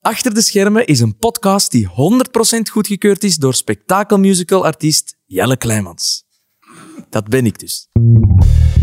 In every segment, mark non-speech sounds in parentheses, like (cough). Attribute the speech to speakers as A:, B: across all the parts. A: Achter de Schermen is een podcast die 100% goedgekeurd is door spektakelmusicalartiest Jelle Kleimans. Dat ben ik dus.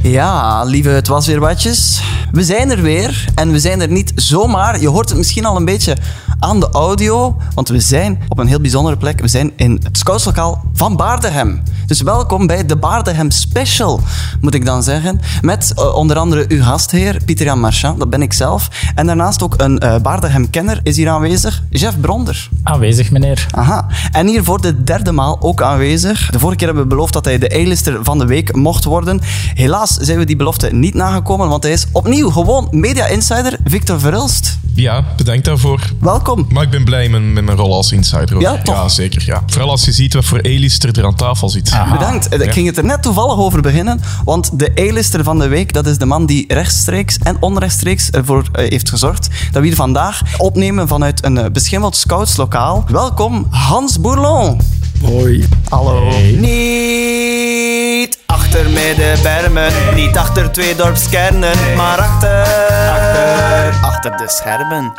B: Ja, lieve het was weer watjes. We zijn er weer en we zijn er niet zomaar. Je hoort het misschien al een beetje aan de audio, want we zijn op een heel bijzondere plek. We zijn in het scoutslokaal van Baardenhem. Dus welkom bij de Baardenhem Special, moet ik dan zeggen. Met eh, onder andere uw gastheer, Pieter Jan Marchand, dat ben ik zelf. En daarnaast ook een eh Baardenhem-kenner is hier aanwezig, Jeff Bronder.
C: Aanwezig, meneer.
B: Aha. En hier voor de derde maal ook aanwezig. De vorige keer hebben we beloofd dat hij de A-lister van de week mocht worden. Helaas zijn we die belofte niet nagekomen, want hij is opnieuw gewoon media-insider Victor Verhulst.
D: Ja, bedankt daarvoor.
B: Welkom.
D: Maar ik ben blij met, met mijn rol als insider. Ook.
B: Ja, toch?
D: zeker. Ja. Vooral als je ziet wat voor A-lister er aan tafel zit.
B: Bedankt. Ik ging het er net toevallig over beginnen, want de A-lister van de week, dat is de man die rechtstreeks en onrechtstreeks ervoor eh, heeft gezorgd dat we hier vandaag opnemen vanuit een eh, beschimmeld scoutslokaal. Welkom, Hans Bourlon.
C: Hoi.
B: Hallo. Niet achter midden bermen, niet achter twee dorpskernen, maar achter, achter, achter de schermen.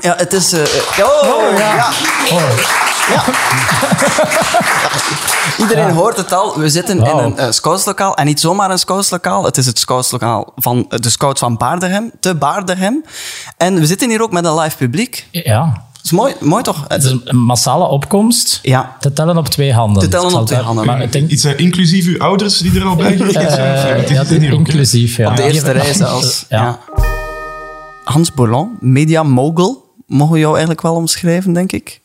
B: Ja, het is. eh, eh, oh, ja. Oh. Ja. (laughs) Iedereen hoort het al. We zitten
C: Wauw.
B: in een eh, scoutslokaal. En niet zomaar een scoutslokaal. Het is het scoutslokaal van eh, de scouts van Baardenhem, te Baardenhem. En we zitten hier ook met een live publiek.
C: Ja.
B: Het is mooi, mooi toch?
C: Het is een massale opkomst.
B: Ja.
C: Te tellen op twee handen.
B: Te tellen
C: Ik zal
B: op twee
C: daar-
B: handen.
C: Maar ik denk...
D: Iets eh, inclusief uw ouders die er al bij
C: eh,
D: zijn. Het is
C: ja, het is
D: hier ook, hè.
C: inclusief, ja.
B: Op de eerste
C: Ja.
B: rij zelfs.
C: Ja.
B: Ja. Hans Bourlon, media mogul. Mogen we jou eigenlijk wel omschrijven, denk ik?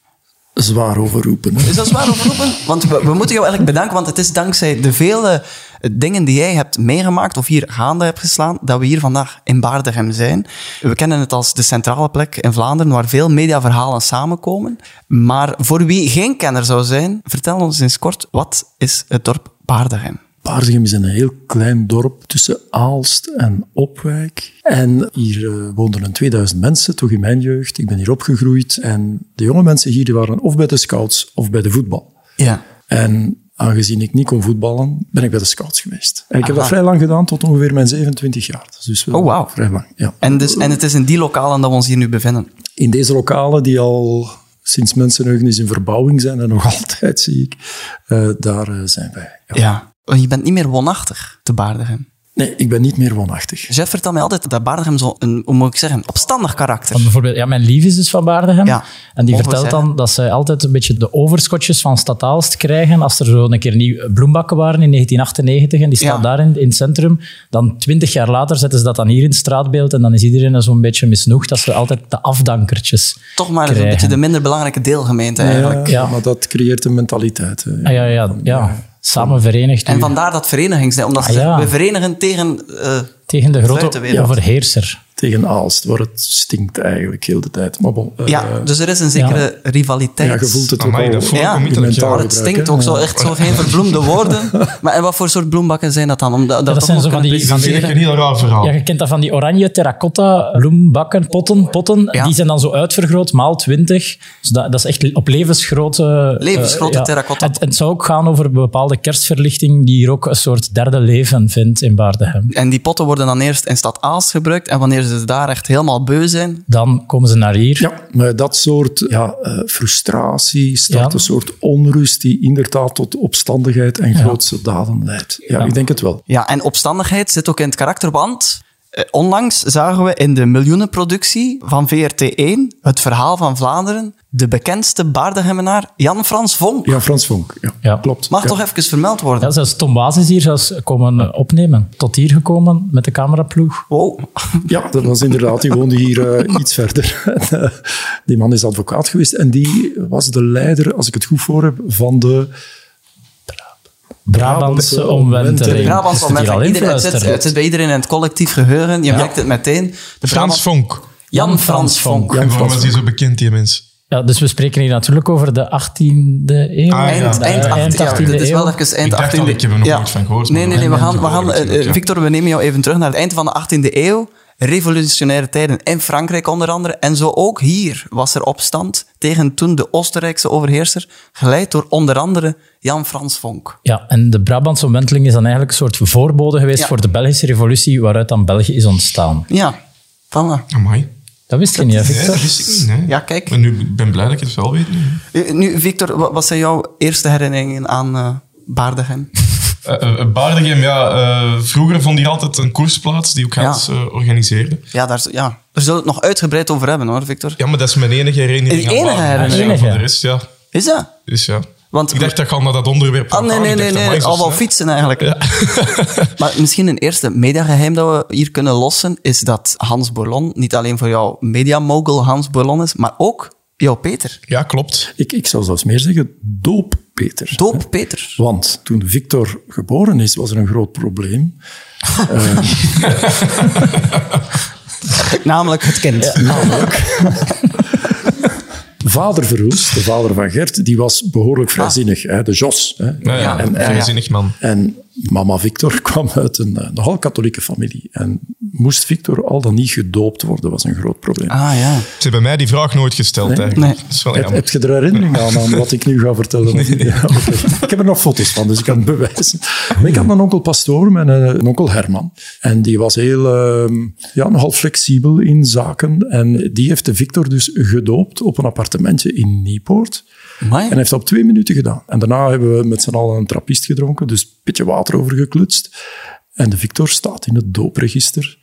E: zwaar overroepen.
B: Is dat zwaar oproepen? Want we, we moeten jou eigenlijk bedanken, want het is dankzij de vele eh, dingen die jij hebt meegemaakt of hier gaande hebt geslaan, dat we hier vandaag in Baardegem zijn. We kennen het als de centrale plek in Vlaanderen waar veel mediaverhalen samenkomen. Maar voor wie geen kenner zou zijn, vertel ons eens kort, wat is het dorp Baardegem?
E: Paarsegem is een heel klein dorp tussen Aalst en Opwijk. En hier eh, woonden een 2000 mensen, toch in mijn jeugd. Ik ben hier opgegroeid. En de jonge mensen hier die waren of bij de scouts of bij de voetbal.
B: Ja.
E: En aangezien ik niet kon voetballen, ben ik bij de scouts geweest. En ik heb dat vrij lang gedaan, tot ongeveer mijn 27 jaar. Dus wel
B: Ah. Oh, wauw.
E: Vrij lang, ja.
B: En, dus, en het is in die lokalen dat we ons hier nu bevinden.
E: in deze lokalen, die al sinds mensenheugenis in verbouwing zijn en nog (laughs) altijd, zie ik, eh, daar eh, zijn wij. Ja.
B: Ja. Je bent niet meer woonachtig te Baardegem.
E: Nee, ik ben niet meer woonachtig.
B: Jeff vertelt mij altijd dat Baardegem zo'n, hoe moet ik zeggen, opstandig karakter.
C: Want bijvoorbeeld, ja, mijn lief is dus van Baardenhem.
B: Ja.
C: En die
B: Mogen we
C: vertelt
B: zeggen.
C: dan dat zij altijd een beetje de overschotjes van Stataalst krijgen. Als er zo een keer nieuw bloembakken waren in 1998 en die staan
B: Ja.
C: daar in, in het centrum, dan twintig jaar later zetten ze dat dan hier in het straatbeeld en dan is iedereen er zo'n beetje misnoegd dat ze altijd de afdankertjes
B: Toch maar een
C: krijgen.
B: beetje de minder belangrijke deelgemeente eigenlijk.
C: Ja.
E: Maar dat creëert een mentaliteit. hè.
C: Ah, ja, ja, ja. Samen verenigd
B: En
C: u
B: vandaar dat verenigingsdijn, omdat ze
C: Ah, ja.
B: zeggen, we verenigen tegen... eh,
C: tegen de grote
B: buitenwereld.
C: overheerser.
E: Tegen Aalst, waar het stinkt eigenlijk heel de tijd. Maar bon, eh,
B: ja, dus er is een zekere rivaliteit.
E: ja, je voelt het ook
D: Amai,
E: al.
D: Ah, dat voel ik
B: Ja.
D: ook niet dat ik
E: Mentaal.
D: jou-
B: Maar het
E: gebruiken,
B: stinkt ook
E: ja.
B: zo, echt zo geen verbloemde
C: (laughs)
B: woorden. Maar en wat voor soort bloembakken zijn dat dan? Om dat,
C: Dat,
B: toch
C: zijn
B: nog
C: zo van
B: kunnen
C: die,
D: Dit
C: van
D: vind
C: die
D: ik een heel raar verhaal.
C: Ja, je kent dat van die oranje terracotta bloembakken, potten. potten
B: Ja.
C: Die zijn dan zo uitvergroot, maal 20. Dus dat, dat is echt op levensgrote... eh,
B: Levensgrote terracotta.
C: Het, het zou ook gaan over een bepaalde kerstverlichting die hier ook een soort derde leven vindt in Baardenhem.
B: En die potten worden dan eerst in Stad Aals gebruikt. En wanneer ze daar echt helemaal beu zijn...
C: Dan komen ze naar hier.
E: Ja, maar dat soort ja, eh, frustratie start
C: Ja.
E: een soort onrust die inderdaad tot opstandigheid en grootse daden leidt. Ja, ik denk het wel.
B: Ja, en opstandigheid zit ook in het karakter, want eh, onlangs zagen we in de miljoenenproductie van VRT1 het verhaal van Vlaanderen, de bekendste baardenhemmenaar Jan-Frans Vonk.
E: Ja, Frans Vonk. Ja,
C: Ja.
E: klopt.
B: Mag
E: Ja.
B: toch even vermeld worden?
C: Ja, zelfs Tom Baas is hier zelfs komen eh, opnemen. Tot hier gekomen met de cameraploeg.
B: Wow.
E: Ja, dat was inderdaad. Die woonde hier
B: (laughs)
E: eh, iets verder. En, eh, die man is advocaat geweest en die was de leider, als ik het goed voor heb, van de...
C: Brabantse omwenteling.
B: Brabant
C: Is het
B: al met
C: hier al in
B: iedereen, het, zit,
C: fluisteren?
B: het zit bij iedereen in het collectief geheugen. Je merkt het meteen. De
D: Frans Vonk.
B: Jan Frans Vonk.
D: En waarom is hij zo bekend, die mens?
C: Ja, dus we spreken hier natuurlijk over de 18e eeuw.
D: Ah, ja.
B: Eind, eind,
C: Eh,
B: 18e ja, dit is
C: eeuw.
B: wel even eind
D: Ik dacht
B: 18e
D: al, ik heb er nog nooit van gehoord,
B: Nee,
D: maar
B: nee, nee. We
D: dat
B: gaan,
D: heb
B: we
D: ik
B: gaan,
D: gehoord,
B: eh,
D: natuurlijk, ja.
B: Victor, we nemen jou even terug naar het eind van de 18e eeuw. Revolutionaire tijden in Frankrijk onder andere. En zo ook hier was er opstand tegen toen de Oostenrijkse overheerser, geleid door onder andere Jan Frans Vonk.
C: Ja, en de Brabantse omwenteling is dan eigenlijk een soort voorbode geweest
B: Ja.
C: voor de Belgische revolutie, waaruit dan België is ontstaan.
B: Ja, voilà.
D: Amai.
C: Dat wist je niet, hè,
D: Nee,
C: Victor?
D: dat wist ik niet. nee.
B: Ja, kijk.
D: Maar nu ik ben blij dat ik het wel weet. nu.
B: Eh, Nu, Victor, wa- wat zijn jouw eerste herinneringen aan eh Baardegem?
D: Eh, eh, Baardegem, ja. eh, vroeger vond hier altijd een koersplaats die ook Hans eh, organiseerde.
B: Ja, daar, z- ja, daar zullen we het nog uitgebreid over hebben, hoor, Victor.
D: Ja, maar dat is mijn enige herinnering.
B: De
D: aan
B: enige
D: Baardegem.
C: herinnering?
D: Voor de rest, ja.
B: Is dat?
D: Dus, ja.
B: Want-
D: ik dacht dat ik al naar dat onderwerp
B: Ah,
D: gaan.
B: nee,
D: Ik
B: nee,
D: dacht,
B: nee,
D: amai,
B: nee.
D: zo
B: Al wel
D: snel.
B: fietsen eigenlijk. (laughs) Maar misschien een eerste mediageheim dat we hier kunnen lossen, is dat Hans Borlon niet alleen voor jou mediamogel Hans Borlon is, maar ook jouw Peter.
D: Ja, klopt.
E: Ik, ik zou zelfs meer zeggen dooppeter.
B: Doop
E: (laughs)
B: Peter.
E: Want toen Victor geboren is, was er een groot probleem.
B: Namelijk het kind.
E: Vader Verhoes, de vader van Gert, die was behoorlijk vrijzinnig. Hè, de Jos. Hè.
D: Nou ja,
E: En- eh,
D: een
E: en-
D: vrijzinnig man.
E: En mama Victor (laughs) kwam uit een eh, nogal katholieke familie. En moest Victor al dan niet gedoopt worden, was een groot probleem.
B: Ah ja.
D: Ze hebben mij die vraag nooit gesteld, eigenlijk.
B: Nee.
D: Dat is wel
E: heb,
D: jammer.
E: heb je er herinnering aan, aan wat ik nu ga vertellen? Ja, oké. Ik heb er nog foto's van, dus ik kan het bewijzen. Maar ik had een onkel Pastoor en eh, een onkel Herman. En die was heel, ehm, ja, nogal flexibel in zaken. En die heeft de Victor dus gedoopt op een appartementje in Niepoort.
B: Amai.
E: En hij heeft dat op twee minuten gedaan. En daarna hebben we met z'n allen een trappist gedronken, dus een beetje water overgeklutst. En de Victor staat in het doopregister.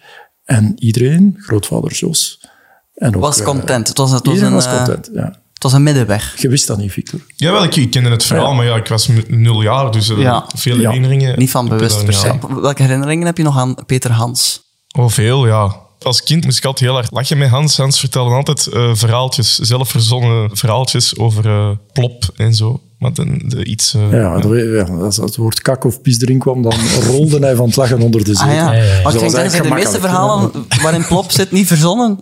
E: En iedereen, grootvader Jos... En ook,
B: Was
E: eh,
B: content. Het was, het was,
E: iedereen
B: een,
E: was
B: eh,
E: content, ja.
B: het was een middenweg.
E: Je wist dat niet, Victor.
D: Jawel, ik, ik kende het verhaal, maar ja, ik was m- nul jaar, dus eh,
B: Ja.
D: veel
E: Ja.
D: herinneringen.
B: Niet van
D: heb ik
B: bewust
D: daar
B: per
D: niet
B: se.
D: aan.
B: Welke herinneringen heb je nog aan Peter Hans?
D: Oh, veel, ja. Als kind moest ik altijd heel hard lachen met Hans. Hans vertelde altijd eh, verhaaltjes, zelfverzonnen verhaaltjes over eh, plop en zo. Maar dan de, iets... eh,
E: Ja, dat we- ja, als het woord kak of pis erin kwam, (laughs) dan rolde hij van het lachen onder de zetel.
B: Ah ja.
C: ja, ja.
B: Maar ik
E: Dus dat
B: denk
E: was
B: dat zijn de
E: eigenlijk
B: meeste
E: gemakkelijk.
B: verhalen waarin Plop zit niet verzonnen.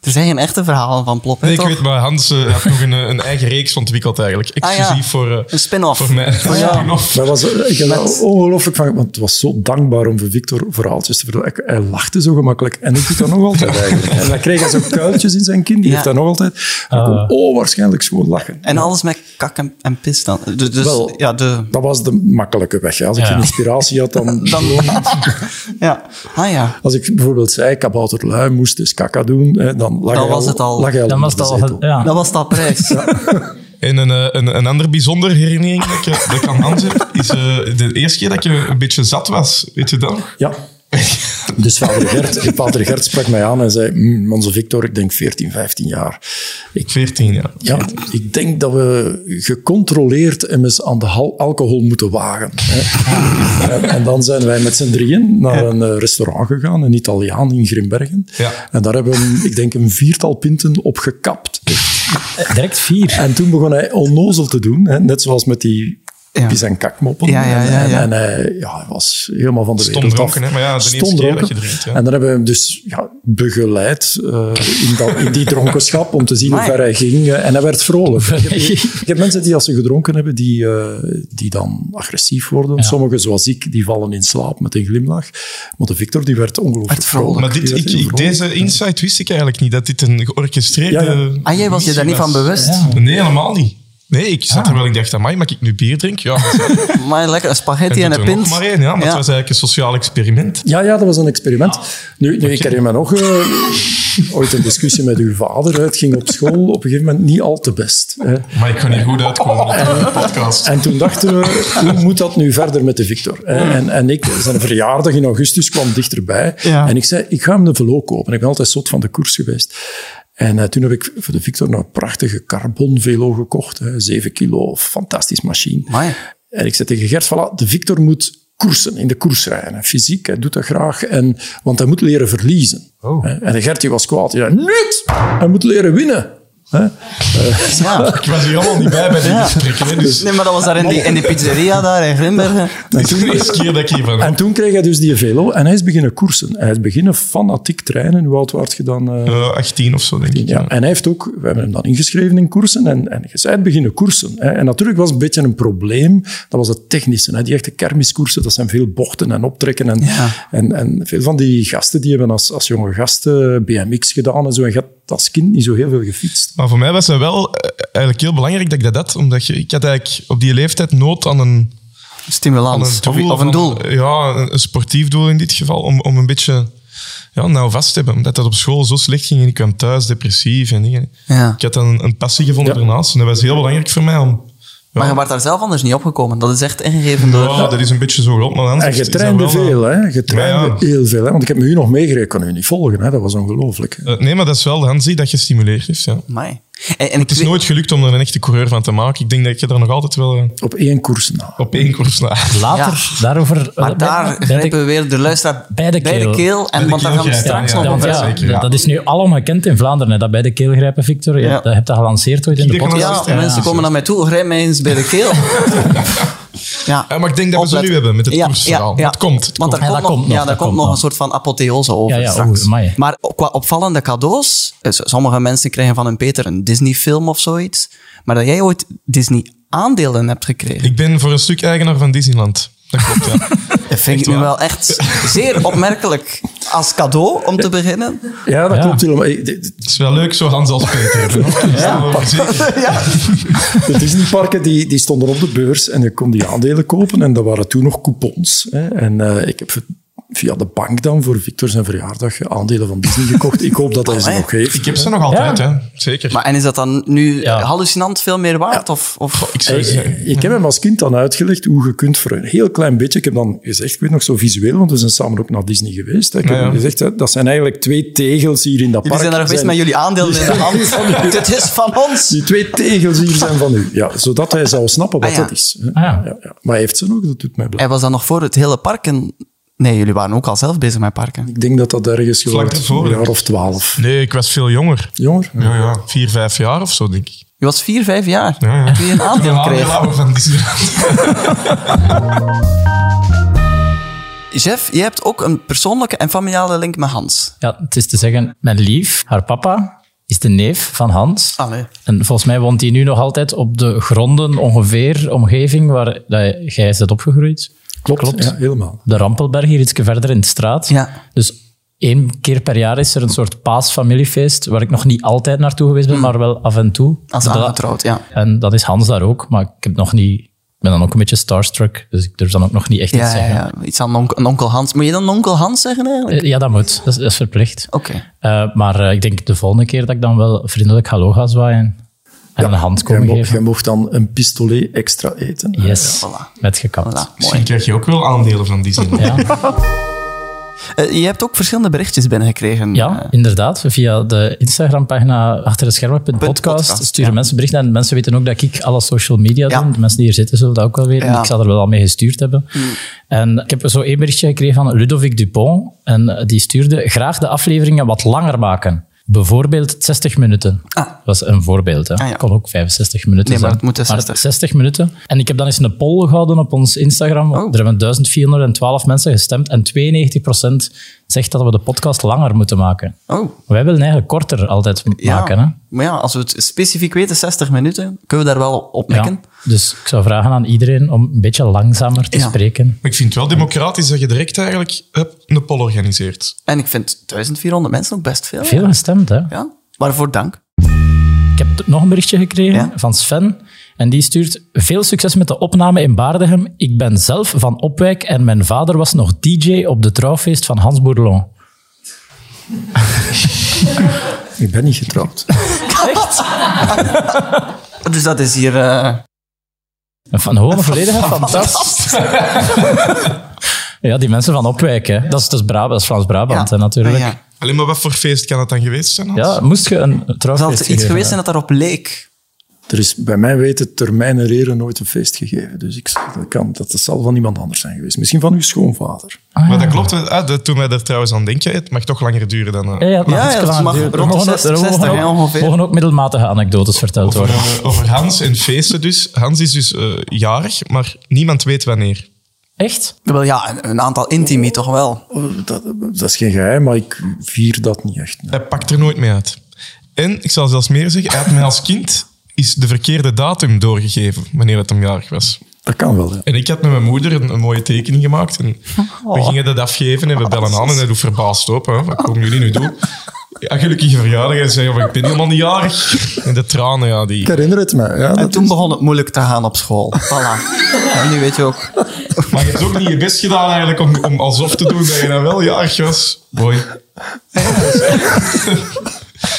B: Er zijn geen echte verhalen van Plop. hè,
D: Nee, ik
B: toch?
D: weet, maar Hans eh, had nog een, een eigen reeks ontwikkeld eigenlijk.
B: Ah, ja.
D: Exclusief voor... eh,
B: Een spin-off.
D: Voor mij.
B: Ah, ja.
D: Spin-off.
E: Maar was, eh, ik heb daar ongelooflijk van... Want het was zo dankbaar om voor Victor verhaaltjes te vertellen. Hij- Hij lachte zo gemakkelijk. En ik doe dat nog (laughs) altijd eigenlijk. Ah. En dan kreeg hij zo'n kuiltjes in zijn kin. Die
B: Ja.
E: heeft dat nog altijd. Hij kon onwaarschijnlijk schoon lachen.
B: En alles met kak en, en pis dan. Dus, dus,
E: Wel.
B: ja, de,
E: Dat was de makkelijke weg. hè. Als ik
C: Ja.
E: geen inspiratie
B: (laughs)
E: had, dan...
B: ja. Ah ja.
E: Als ik bijvoorbeeld zei, kabouter lui moest dus kaka doen, hè, dan lag
B: Dan
E: hij
B: was het al.
E: lag hij al
C: Dan was
E: onder
C: dat
E: de zetel.
C: al... Ja.
B: Dat was dat prijs.
D: En een, eh, een, een andere bijzondere herinnering dat ik, eh, dat ik aan Hans heb, is eh, de eerste keer dat je een beetje zat was. Weet je dat nog?
E: Ja. Dus vader Gert, vader Gert sprak mij aan en zei, "Mm, onze Victor, ik denk 14, 15 jaar. Ik,
D: 14 jaar.
E: ja, ik denk dat we gecontroleerd hem eens aan de hal- alcohol moeten wagen. hè." en, en dan zijn wij met z'n drieën naar een eh, restaurant gegaan, een Italiaan in Grimbergen.
D: Ja.
E: En daar hebben we, hem, ik denk, een viertal pinten op gekapt.
C: Eh, Direct vier.
E: En toen begon hij onnozel te doen, hè? net zoals met die
B: Ja.
E: pis- en kakmoppen.
B: Ja, ja, ja,
E: En,
B: ja.
E: en, en hij, ja, hij was helemaal van de
D: Stom
E: wereld
D: dronken,
E: af.
D: hè, maar ja, de eerste
E: Stom
D: keer dat
E: dronken.
D: je drinkt, ja.
E: En dan hebben we hem dus ja, begeleid eh, in, dat- in die dronkenschap om te zien hoe
B: Amai.
E: ver hij ging. eh, en hij werd vrolijk. Ik heb,
B: (laughs)
E: ik heb mensen die als ze gedronken hebben, die, eh, die dan agressief worden. Sommigen, zoals ik, die vallen in slaap met een glimlach. Maar de Victor, die werd ongelooflijk
B: Werd vrolijk.
E: vrolijk.
D: Maar dit,
E: Die
D: ik,
E: werd
D: ik,
E: vrolijk.
D: deze insight wist ik eigenlijk niet, dat dit een georchestreerde...
E: Ja, ja.
B: (laughs) Ah, jij was je daar niet van
D: missie was.
B: bewust?
D: Nee, helemaal niet. Nee, ik zat er wel en dacht, amai, mag ik nu bier drinken? Ja,
B: (laughs)
D: dat is-
B: Maar lekker, een spaghetti en
D: doet
B: een
D: er nog
B: pint.
D: maar één, ja. Maar het was eigenlijk een sociaal experiment.
E: Ja, ja, dat was een experiment. Nu, nu ik herinner me nog eh, ooit een discussie met uw vader. hè. Het ging op school op een gegeven moment niet al te best. Hè.
D: Maar ik ga niet goed uitkomen op
B: (laughs)
D: de podcast.
E: En toen dachten we, hoe moet dat nu verder met de Victor? hè? En, en ik, zijn verjaardag in augustus kwam dichterbij.
B: Ja.
E: En ik zei, ik ga hem de velo kopen. Ik ben altijd zot van de koers geweest. En eh, toen heb ik voor de Victor een prachtige carbon velo gekocht. Hè, 7 kilo, fantastisch machine.
B: Amai. (laughs)
E: En ik zei tegen Gert, voilà, de Victor moet koersen, in de koers rijden. hè. Fysiek, hij doet dat graag, en, want hij moet leren verliezen.
D: Oh.
E: Hè. En de Gert die was kwaad. Hij zei, niet! Hij moet leren winnen. Hè.
B: Ja.
D: Ik was hier allemaal niet bij bij dit gesprek. Hè, dus
B: Nee, maar dat was daar in die, in die pizzeria daar in Grimbergen.
D: dit is de eerste keer dat ik hiervan...
E: En toen kreeg hij dus die velo en hij is beginnen koersen. Hij is beginnen fanatiek trainen. Hoe oud werd je dan? eh?
D: Eh, 18 of zo, denk ik.
E: ja.
D: Ja.
E: En hij heeft ook, we hebben hem dan ingeschreven in koersen en, en je zei beginnen koersen. hè. En natuurlijk was het een beetje een probleem, dat was het technische. Hè. Die echte kermiskoersen, dat zijn veel bochten en optrekken. En,
B: Ja.
E: en, en veel van die gasten die hebben als, als jonge gasten BMX gedaan en zo. En je hebt als kind niet zo heel veel gefietst.
D: Maar voor mij was het wel eh, eigenlijk heel belangrijk dat ik dat had. Omdat je, ik had eigenlijk op die leeftijd nood aan een, aan
B: Stimulans.
D: een doel.
B: of, of een doel.
D: van- ja, een, een sportief doel in dit geval. Om, om een beetje ja, nou vast hebben. Omdat dat op school zo slecht ging en ik kwam thuis depressief. En dingen.
B: Ja.
D: Ik had dan een, een passie gevonden
E: Ja.
D: daarnaast en dat was heel belangrijk voor mij. Om,
B: Maar
D: ja.
B: je werd daar zelf anders niet opgekomen. Dat is echt ingegeven door...
D: Ja, dat is een beetje zo groot, maar anders
E: En je
D: is dat
E: trainde
D: wel, eh,
E: veel, hè? Je trainde
D: ja.
E: heel veel, hè? Want ik heb me u nog meegereden, ik kon u niet volgen, hè? Dat was ongelooflijk.
D: eh, nee, maar dat is wel de Hansi dat gestimuleerd heeft. Ja.
B: Amai. En, en ik
D: Het is
B: weet-
D: nooit gelukt om er een echte coureur van te maken. Ik denk dat je er nog altijd wel eh,
E: Op één koers na.
D: op één koers na.
C: Later, daarover...
B: Maar daar grijpen we weer de luisteraar
C: Bij de keel.
B: En, want daar
D: keel
B: gaan we
D: grijpen,
B: straks
D: ja.
B: nog
D: Ja,
B: op
D: ja.
B: verder.
D: zeker,
C: dat, dat is nu alomgekend in Vlaanderen, hè, dat bij de keel grijpen, Victor. Je
B: Ja.
C: hebt dat- hebt dat gelanceerd ooit in de
D: Ik denk
C: podcast.
D: dat
B: Ja,
D: is- ja.
B: mensen komen naar mij toe. Grijp mij eens bij de keel. ja.
D: Ja, maar ik denk dat we ze
B: Opletten.
D: nu hebben met het koersverhaal. Het komt, het
B: Want
D: komt.
B: daar
C: Ja,
B: komt,
C: dat
B: nog,
C: komt nog,
B: ja, daar
C: dat
B: komt
C: komt
B: nog een
C: nog.
B: soort van apotheose over
C: Ja, ja,
B: straks.
C: oeh, amai.
B: maar op- qua opvallende cadeaus... eh, s- Sommige mensen krijgen van hun Peter een Disney-film of zoiets. Maar dat jij ooit Disney-aandelen hebt gekregen...
D: Ik ben voor een stuk eigenaar van Disneyland. Dat klopt, (laughs) ja.
B: Dat vind ik nu wel echt zeer opmerkelijk als cadeau om te beginnen.
E: Ja, dat
C: Ja.
E: klopt helemaal. Eh, dit-
D: Het is wel leuk, zo Hans als Peter. hebben, hoor. Daar staan we over zeker.
E: De Disneyparken die, die stonden op de beurs en je kon die aandelen kopen. En dat waren toen nog coupons. Hè. En eh, ik heb via de bank dan voor Victor zijn verjaardag aandelen van Disney gekocht. Ik hoop dat hij ze
B: Amai.
E: nog heeft.
D: Ik heb ze nog altijd, hè. zeker.
B: Maar en is dat dan nu
C: Ja.
B: hallucinant veel meer waard? Of, of,
D: ik zou zeggen,
E: Eh, Ik, ik heb hem als kind dan uitgelegd hoe je kunt voor een heel klein beetje... Ik heb dan gezegd, ik weet nog zo visueel, want we zijn samen ook naar Disney geweest. hè. Ik heb
D: Ja, ja.
E: hem gezegd, hè, dat zijn eigenlijk twee tegels hier in dat
B: jullie
E: park.
B: zijn daar geweest
E: Zijn-
B: met jullie aandelen in de hand. (laughs) Dit is van ons.
E: Die twee tegels hier zijn van u. Ja, zodat hij zou snappen wat
B: Ah, ja.
E: dat is. hè.
C: Ah, ja.
E: Maar hij heeft ze nog, dat doet mij blij.
B: Hij was dan nog voor het hele park. En... Nee, jullie waren ook al zelf bezig met parken.
E: Ik denk dat dat ergens gewoon
D: daarvoor,
E: een
D: denk
E: jaar
D: ik.
E: of twaalf.
D: Nee, ik was veel jonger.
E: Jonger?
D: Ja, ja. Vier, vijf jaar of zo, denk ik.
B: Je was vier, vijf jaar
D: Ja, (laughs) ja.
B: toen je een aandeel
D: Aandeel
B: kreeg.
D: houden van Disneyland.
B: Jeff, je hebt ook een persoonlijke en familiale link met Hans.
C: Ja, het is te zeggen, mijn lief, haar papa, is de neef van Hans.
B: Allee.
C: En volgens mij woont hij nu nog altijd op de gronden, ongeveer, omgeving waar dat jij bent opgegroeid.
E: Klopt, Ja, helemaal.
C: De Rampelberg, hier ietsje verder in de straat.
B: Ja.
C: Dus één keer per jaar is er een soort paasfamiliefeest, waar ik nog niet altijd naartoe geweest ben, maar wel af en toe.
B: Hmm. Als
C: Dat-
B: aangetrouwd, ja.
C: En dat is Hans daar ook, maar ik heb nog niet... Ik ben dan ook een beetje starstruck, dus ik durf dan ook nog niet echt iets
B: Ja, ja,
C: zeggen.
B: ja. Iets aan onk- een onkel Hans. Moet je dan onkel Hans zeggen eigenlijk?
C: Eh, Ja, dat moet. Dat is, dat is verplicht.
B: Oké.
C: Eh, maar eh, ik denk de volgende keer dat ik dan wel vriendelijk hallo ga zwaaien. En een hand
E: Jij
C: komen
E: mocht,
C: geven.
E: jij mocht dan een pistolet extra eten.
C: Yes,
B: Voilà.
C: met gekapt.
B: Voilà, mooi.
D: Misschien krijg je ook wel aandelen van Disneyland.
C: Ja.
B: Eh, je hebt ook verschillende berichtjes binnengekregen.
C: Ja,
B: Eh,
C: inderdaad. Via de Instagram-pagina achter de schermen.podcast
B: Podcast,
C: sturen
B: ja.
C: mensen berichten. En mensen weten ook dat ik alle social media
B: Ja.
C: doe. De mensen die hier zitten zullen dat ook wel weten.
B: Ja. Mm.
C: Ik zal er wel al mee gestuurd hebben. En ik heb zo één berichtje gekregen van Ludovic Dupont. En eh, die stuurde graag de afleveringen wat langer maken. Bijvoorbeeld 60 minuten.
B: Ah.
C: Dat was een voorbeeld. Hè.
B: Ah, ja.
C: kon ook 65 minuten
B: Nee, maar
C: zijn.
B: het moet 60.
C: 60 minuten. En ik heb dan eens een poll gehouden op ons Instagram.
B: Oh.
C: Er hebben 1412 mensen gestemd en 92% zegt dat we de podcast langer moeten maken.
B: Oh,
C: Wij willen eigenlijk korter altijd m-
B: ja.
C: maken. Hè?
B: Maar ja, als we het specifiek weten, 60 minuten, kunnen we daar wel op mikken.
C: Dus ik zou vragen aan iedereen om een beetje langzamer te
B: Ja.
C: spreken.
D: Maar ik vind het wel democratisch dat je direct eigenlijk hup, een poll organiseert.
B: En ik vind 1400 mensen ook best veel.
C: Veel gestemd, hè?
B: Ja, waarvoor dank.
C: Ik heb t- nog een berichtje gekregen
B: Ja?
C: van Sven. En die stuurt veel succes met de opname in Baardegem. Ik ben zelf van Opwijk en mijn vader was nog DJ op de trouwfeest van Hans Bourlon.
E: Ik ben niet getrouwd.
B: (laughs) Dus dat is hier... eh,
C: Een van gewoon een volledige fantastisch. (laughs) ja, die mensen van Opwijk, hè. Dat is, dat is, Brabant, dat is Frans-Brabant, hè, natuurlijk. Ja.
B: Ja.
D: Alleen maar wat voor feest kan het dan geweest zijn, Hans?
C: moest je een
B: Zal
C: trouwfeest
B: er iets
C: gegeven
B: geweest zijn dat daarop leek?
E: Er is bij mijn weten termijnen reren nooit een feest gegeven. Dus ik, dat, kan, dat zal van iemand anders zijn geweest. Misschien van uw schoonvader.
D: Maar dat klopt. Ah, dat doet mij er trouwens aan denken. Het mag toch langer duren dan... eh,
C: Ja, ja, het mag
B: Ja,
C: iets
B: ja, het
C: langer
B: mag
C: duren.
B: rond de
C: Er mogen ook-
B: 60,
C: er mogen
B: 60, hè,
C: ook-
B: ongeveer.
C: mogen ook middelmatige anekdotes verteld
D: Over,
C: worden.
D: eh, over Hans en feesten dus. Hans is dus eh, jarig, maar niemand weet wanneer.
C: Echt?
B: Wel ja, een, een aantal intimi toch wel.
E: Oh, Dat, dat is geen geheim, maar ik vier dat niet echt. nee.
D: Hij pakt er nooit mee uit. En, ik zal zelfs meer zeggen, hij had mij als kind is de verkeerde datum doorgegeven wanneer het hem jarig was.
E: Dat kan wel, ja.
D: En ik had met mijn moeder een, een mooie tekening gemaakt. En we gingen dat afgeven en we bellen aan en hij doet verbaasd op. Hè. Wat komen jullie nu doen? Ja, gelukkige verjaardag. En zei, "Ja, ik ben helemaal niet jarig. En de tranen, ja, die...
E: Ik herinner het me. Ja,
B: En
E: dat
B: toen
E: is-
B: begon het moeilijk te gaan op school. Voilà. en nu weet je ook.
D: Maar je hebt ook niet je best gedaan eigenlijk om, om alsof te doen dat je dan wel jarig was. Mooi.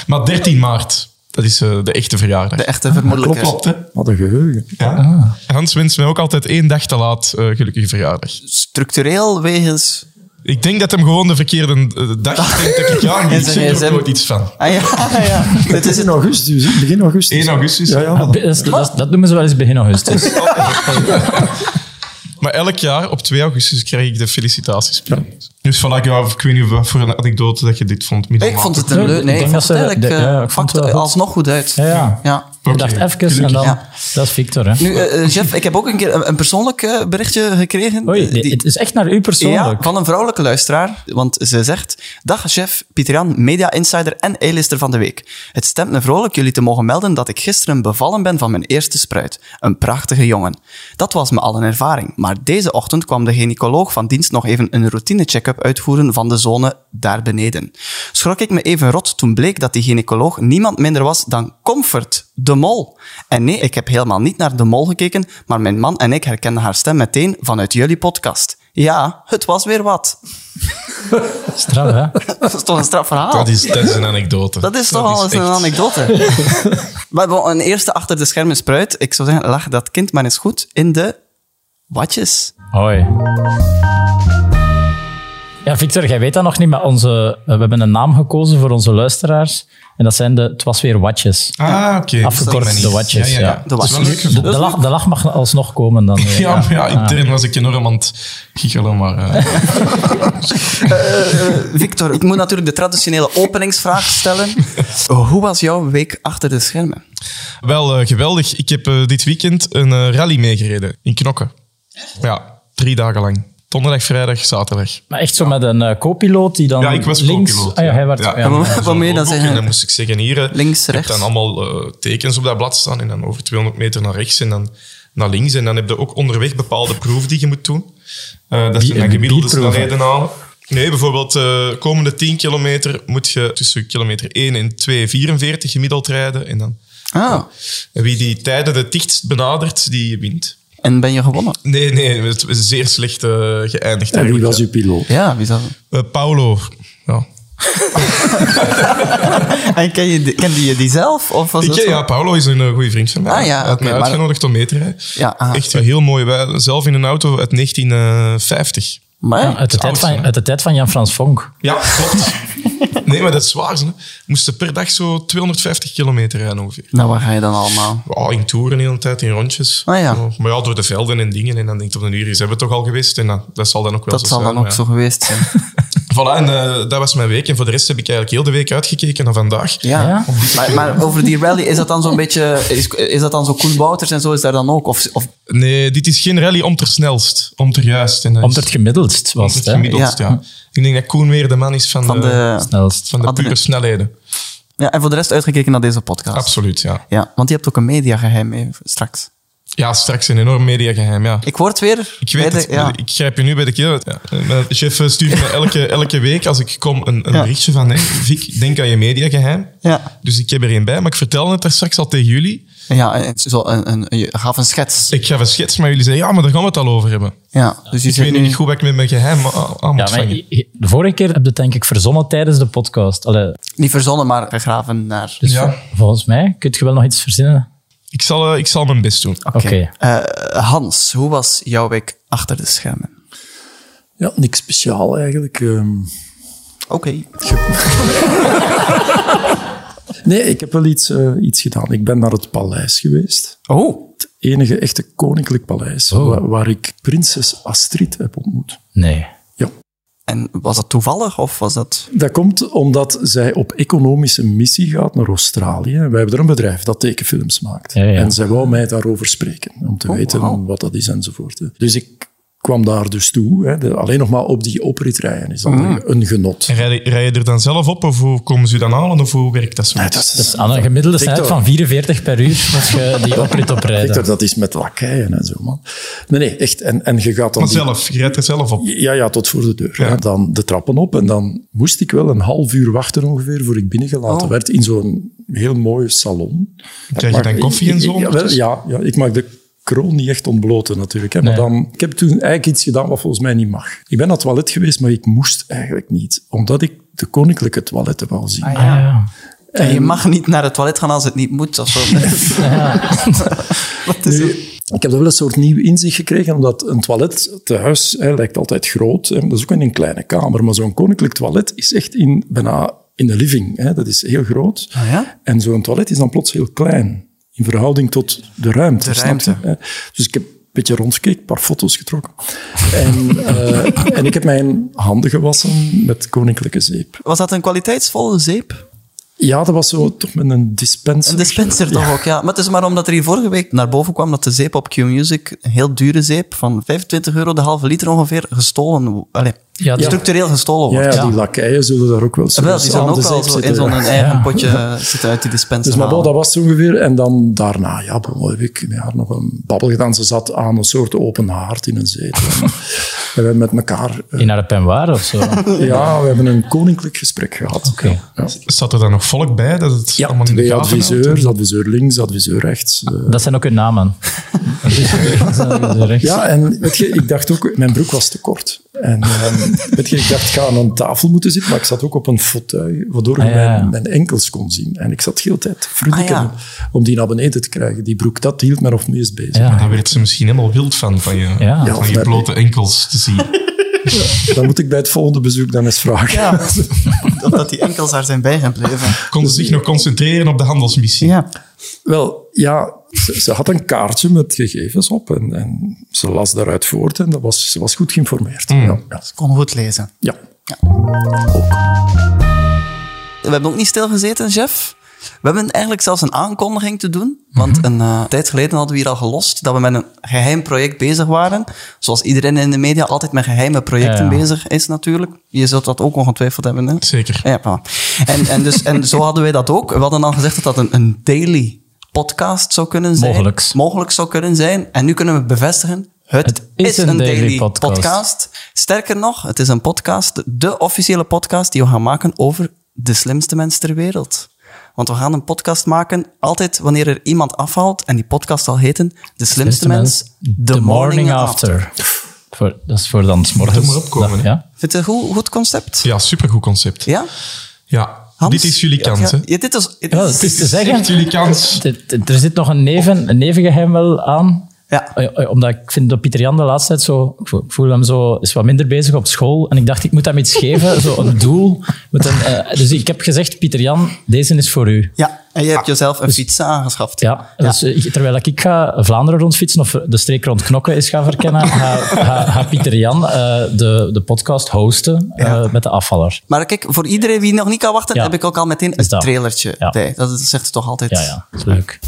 D: maar 13 maart, dat is eh, de echte verjaardag.
B: De echte vermoedelijke.
D: Klopt, klopt, hè?
E: Wat een geheugen.
D: Ja. Hans wenst mij ook altijd één dag te laat eh, gelukkige verjaardag.
B: Structureel wegens...
D: Ik denk dat hem gewoon de verkeerde eh,
B: (laughs)
D: dag denkt dat ik ja,
B: En
D: ik
B: zijn
D: zeg er ook
B: GSM.
D: nooit iets van.
B: Ah (laughs) ja, ja. Dit is
E: Het is in augustus, hè? begin augustus. Ah,
D: 1 augustus.
E: Ja, ja.
C: Dat, is- dat, is- dat noemen ze wel eens begin
B: (laughs)
C: augustus.
D: Maar elk jaar op 2 augustus krijg ik de felicitaties. Dus voilà, ik, wou- ik weet niet wat voor een anekdote dat je dit vond.
B: Ik
D: middelmatig.
B: vond het een leuk... Nee,
C: Ik
B: ik
C: denk
B: vond
C: dat
B: het
C: ze-
B: eigenlijk...
C: de- ja,
B: eh,
C: ik vond het
B: pakt
C: wel goed.
B: alsnog goed uit.
C: Ja, ja.
B: ja.
C: Ik dacht
D: Oké,
C: even en dan...
B: ja.
C: Dat is Victor, hè.
B: Nu, eh, eh, Jeff, ik heb ook een keer een, een persoonlijk eh, berichtje gekregen.
C: Oei,
B: Eh, die-
C: het is echt naar u persoonlijk.
B: Ja, van een vrouwelijke luisteraar. Want ze zegt... Dag chef, Pieter Jan, media insider en A-lister van de week. Het stemt me vrolijk jullie te mogen melden dat ik gisteren bevallen ben van mijn eerste spruit. Een prachtige jongen. Dat was me al een ervaring. Maar deze ochtend kwam de gynaecoloog van dienst nog even een routine check-up uitvoeren van de zone daar beneden. Schrok ik me even rot toen bleek dat die gynaecoloog niemand minder was dan Comfort, de mol. En nee, ik heb helemaal niet naar de mol gekeken, maar mijn man en ik herkenden haar stem meteen vanuit jullie podcast. Ja, het was weer wat.
C: Straf, hè.
B: (laughs) Dat is toch een straf verhaal?
D: Dat is, dat is een anekdote.
B: Oh. Dat is toch al eens een
D: echt-
B: (laughs) anekdote. we hebben een eerste achter de schermen spruit. Ik zou zeggen, lag dat kind maar eens goed in de watjes.
C: Hoi. Ja, Victor, jij weet dat nog niet, maar onze, eh, we hebben een naam gekozen voor onze luisteraars. En dat zijn de Het Was Weer Watjes.
D: Ah, oké.
C: Afgekort de watjes, ja.
D: De
B: De
D: Dat is wel
B: watjes.
D: leuk
C: De,
D: gevonden.
C: de lach, de lach mag alsnog komen dan. eh,
D: (laughs) Ja, maar ja, intern was ik enorm aan het giechelen, maar... eh, (laughs)
B: Victor, ik moet natuurlijk de traditionele openingsvraag stellen. (laughs) Hoe was jouw week achter de schermen?
D: Wel eh, geweldig. Ik heb eh, dit weekend een eh, rally meegereden in Knokken. Ja, drie dagen lang. Donderdag, vrijdag, zaterdag.
C: Maar echt zo met een eh co-piloot die dan
D: Ja, ik was
C: links...
D: co-piloot,
C: Ah ja,
D: ja.
C: hij werd...
D: Ja.
C: ja.
B: Wat-
D: Zo
B: Wat moet je dan
D: ook. En dan
B: zeggen?
D: moest ik zeggen hier... eh,
B: Links,
D: je hebt
B: rechts.
D: dan allemaal eh, tekens op dat blad staan en dan over 200 meter naar rechts en dan naar links. En dan heb je ook onderweg bepaalde proeven die je moet doen. Eh, dat zijn dan gemiddelde
C: bierproeven?
D: snelheden halen. Nee, bijvoorbeeld de komende 10 kilometer moet je tussen kilometer 1 en 2,44 gemiddeld rijden. En dan
B: Ah,
D: en wie die tijden het dichtst benadert, die wint.
B: en ben je gewonnen?
D: Nee, nee, het is zeer slecht eh, geëindigd.
E: En wie
D: eigenlijk,
E: was
D: ja.
E: uw piloot?
B: Ja, wie zal...
D: Eh, Paolo. Ja.
B: (laughs) En ken je, die- kende je die zelf? Of was
D: Ik,
B: dat zo?
D: ja, Paolo is een eh, goede vriend van mij.
B: Ah, ja,
D: Hij had
B: oké,
D: mij
B: maar-
D: uitgenodigd om mee te rijden.
B: Ja, ah.
D: Echt een heel mooi. Wij, zelf in een auto uit 1950.
B: Maar,
C: Ja, uit, de tijd van, uit de tijd van Jan-Frans Vonk.
D: Ja, klopt. (laughs) nee, maar dat is waar. Ze moesten per dag zo 250 kilometer rijden ongeveer.
B: nou, wat ga je dan allemaal?
D: Ja, in toeren de hele tijd, in rondjes.
B: Ah, ja.
D: Zo. Maar ja, door de velden en dingen. En dan denk je op een uur, is hebben we toch al geweest. En dat, dat zal dan ook wel
B: Dat
D: zo
B: zal
D: zijn.
B: dan ook
D: maar ja.
B: zo geweest zijn. (laughs)
D: Voilà, en eh, dat was mijn week. En voor de rest heb ik eigenlijk heel de week uitgekeken naar vandaag.
B: Ja,
C: Ja.
B: Maar, maar over die rally, is dat dan zo'n beetje... Is, is dat dan zo Koen Wouters en zo, is daar dan ook? Of, of
D: Nee, dit is geen rally om ter snelst, om ter juist. En dat
C: Omdat
D: is-
C: het gemiddeldst was
D: om
C: het,
D: ter
C: hè.
D: gemiddeldst, ja. Ik denk dat Koen weer de man is van,
B: van
D: de,
B: de...
C: Snelst.
D: van de
B: andere-
D: pure snelheden.
B: Ja, en voor de rest uitgekeken naar deze podcast.
D: Absoluut, ja.
B: Ja, want je hebt ook een mediageheim mee straks.
D: Ja, straks een enorm mediageheim, ja.
B: Ik word weer...
D: Ik weet
B: bij
D: het,
B: de- ja.
D: ik grijp je nu bij de keel. uit, Ja. Eh, Mijn chef eh, stuurt me (laughs) elke, elke week als ik kom een, een
B: Ja.
D: berichtje van... Hey, Vic, ik denk aan je mediageheim.
B: Ja.
D: Dus ik heb er één bij, maar ik vertel het daar straks al tegen jullie.
B: Ja, eh, en zo een, een, je gaf een schets.
D: Ik ga een schets, maar jullie zeggen, ja, maar daar gaan we het al over hebben.
B: Ja, dus je
D: Ik
B: zit
D: weet nu
B: nu...
D: niet goed wat ik met mijn geheim a- aan moet
C: Ja, maar
D: vangen.
C: je- je- de vorige keer heb je het denk ik verzonnen tijdens de podcast. Allee,
B: Niet verzonnen, maar gegraven naar...
C: dus
D: Ja.
C: vol- volgens mij kun je wel nog iets verzinnen.
D: Ik zal, eh, ik zal mijn best doen.
C: Oké.
B: Eh, Hans, hoe was jouw week achter de schermen?
E: Ja, niks speciaal eigenlijk. ehm.
B: Oké.
E: Nee, ik heb wel iets, eh, iets gedaan. Ik ben naar het paleis geweest.
B: Oh,
E: Het enige echte koninklijk paleis wa- waar, ik prinses Astrid heb ontmoet.
C: Nee.
E: Ja.
B: en was dat toevallig of was dat...
E: Dat komt omdat zij op economische missie gaat naar Australië. Wij hebben er een bedrijf dat tekenfilms maakt.
C: Ja, ja.
E: En zij wou mij daarover spreken, om te weten wat dat is enzovoort. hè. Dus ik kwam daar dus toe. Hè. De- alleen nog maar op die opritrijden is dat een- een genot.
D: En rij, je- rij je er dan zelf op of hoe komen ze u dan halen of hoe werkt dat zo?
E: Nee, dat is-
C: Aan een gemiddelde snelheid
E: Victor.
C: van 44 per uur moet je die oprit oprijden.
E: Victor, dat is met lakeien en zo, man. Nee, nee, echt. En, en je gaat dan...
D: Maar
E: die-
D: zelf, je rijdt er zelf op.
E: Ja, ja, tot voor de deur. hè. Dan de trappen op en dan moest ik wel een half uur wachten ongeveer voor ik binnengelaten
B: Oh.
E: werd in zo'n heel mooi salon.
D: Krijg je
E: Maar
D: dan koffie en
E: ik-
D: zo?
E: ik- Ja, wel,
D: ondertussen?
E: ja, ja, ik maak de kroon niet echt ontbloten natuurlijk. Hè? Maar
C: Nee.
E: dan, ik heb toen eigenlijk iets gedaan wat volgens mij niet mag. Ik ben naar het toilet geweest, maar ik moest eigenlijk niet. Omdat ik de koninklijke toiletten wou zien.
C: Ah, ja.
B: En je mag niet naar het toilet gaan als het niet moet. Of
E: (laughs)
B: zo. (laughs) Wat is
E: Nu,
B: het?
E: ik heb daar wel een soort nieuw inzicht gekregen, omdat een toilet te huis hè, lijkt altijd groot. Hè, maar dat is ook in een kleine kamer. Maar zo'n koninklijk toilet is echt in, bijna in de living. Hè, dat is heel groot.
B: Ah, ja?
E: En zo'n toilet is dan plots heel klein. In verhouding tot de ruimte.
B: De
E: snap je,
B: ruimte.
E: hè? Dus ik heb een beetje rondgekeken, een paar foto's getrokken. En, eh, en ik heb mijn handen gewassen met koninklijke zeep.
B: Was dat een kwaliteitsvolle zeep?
E: Ja, dat was zo toch met een dispenser.
B: Een dispenser toch ook, ja. Maar het is maar omdat er hier vorige week naar boven kwam dat de zeep op Q-Music, een heel dure zeep, van 25 euro de halve liter ongeveer, gestolen wo- Allee,
C: Ja, dat-
B: structureel gestolen
E: Ja,
B: wordt.
E: ja, die lakeien zullen daar ook wel
B: Ja, wel,
E: soms
B: die zijn
E: aan
B: ook
E: de
B: al
E: zeep
B: zo in
E: zitten.
B: zo'n eigen potje eh, zitten uit die dispenser
E: Dus maar bon,
B: halen. (laughs)
E: dat was het ongeveer. En dan daarna, ja, bon, heb ik met haar nog een babbel gedaan. Ze zat aan een soort open haard in een zetel. En we hebben met elkaar... eh,
C: In haar penwaar of zo.
E: ja, we hebben een koninklijk gesprek gehad.
C: Oké.
E: Ja,
D: Zat er dan nog volk bij dat het
E: ja
D: allemaal in de
E: twee
D: gaten houdt?
E: adviseurs, adviseur links, adviseur rechts. eh.
C: Dat zijn ook hun
D: (laughs)
C: namen. Dat zijn ook de rechts.
E: Ja, en weet je, ik dacht ook, mijn broek was te kort. En ehm, weet je, ik dacht, ik ga aan een tafel moeten zitten, maar ik zat ook op een fauteuil, waardoor ik
C: Ah, ja.
E: mijn, mijn enkels kon zien. En ik zat de hele tijd frudiken
B: Ah, ja.
E: om die naar beneden te krijgen. Die broek, dat hield me nog het meest bezig.
C: Ja.
D: Daar Ah, werd ze misschien helemaal wild van, van je,
C: Ja. Ja,
D: van je
E: maar-
D: blote enkels te zien.
E: Dan moet ik bij het volgende bezoek dan eens vragen.
B: Ja, omdat die enkels daar zijn bij gaan blijven.
D: Konden ze zich nog concentreren op de handelsmissie?
B: Ja.
E: Wel, ja, ze, ze had een kaartje met gegevens op en, en ze las daaruit voort en dat was, ze was goed geïnformeerd.
B: Mm.
E: Ja, ja.
B: Ze kon goed lezen.
E: ja.
B: We hebben ook niet stilgezeten, chef. We hebben eigenlijk zelfs een aankondiging te doen. Want een eh, tijd geleden hadden we hier al gelost dat we met een geheim project bezig waren. Zoals iedereen in de media altijd met geheime projecten
C: Ja, ja.
B: bezig is natuurlijk. Je zult dat ook ongetwijfeld hebben. Hè?
D: Zeker.
B: Ja, voilà. en, en, dus, en zo hadden wij dat ook. We hadden al gezegd dat dat een, een daily podcast zou kunnen zijn.
C: Mogelijks.
B: Mogelijk zou kunnen zijn. En nu kunnen we bevestigen, het, is, een, daily,
C: podcast.
B: podcast podcast. Sterker nog, het is een podcast, de officiële podcast die we gaan maken over de slimste mensen ter wereld. Want we gaan een podcast maken altijd wanneer er iemand afhaalt. En die podcast zal heten De Slimste Mens,
C: The, Morning After. Voor, dat is voor dan 's morgens.
D: Moet er maar opkomen, hè.
C: ja.
B: Vind je het een goed, goed concept?
D: Ja, supergoed concept.
B: Ja?
D: Ja,
B: Hans?
D: dit is jullie
B: Ja,
D: kans, hè?
B: ja, dit is, dit
C: Ja,
B: is-
C: het is te
D: Dit is echt
C: zeggen.
D: jullie kans.
C: Dit- dit- Er zit nog een, neven, een nevengeheim wel aan.
B: Ja.
C: Eh, eh, Omdat ik vind dat Pieter Jan de laatste tijd zo... Ik voel- ik voel hem zo... is wat minder bezig op school. En ik dacht, ik moet hem iets geven. Zo een doel. Met een, eh, dus ik heb gezegd, Pieter Jan, deze is voor u.
B: ja, en je hebt jezelf een fiets aangeschaft.
C: Ah. Ja, dus eh, terwijl ik ga Vlaanderen rondfietsen of eh, de streek rond Knokken eens gaan
B: (laughs)
C: verkennen, gaat ga, ga Pieter Jan eh, de, de podcast hosten eh, met de afvaller.
B: Maar kijk, voor iedereen die nog niet kan wachten,
C: Ja.
B: heb ik ook al meteen een
C: Is dat.
B: trailertje
C: Ja.
B: bij. Dat zegt toch altijd...
C: Ja, ja, dat is leuk.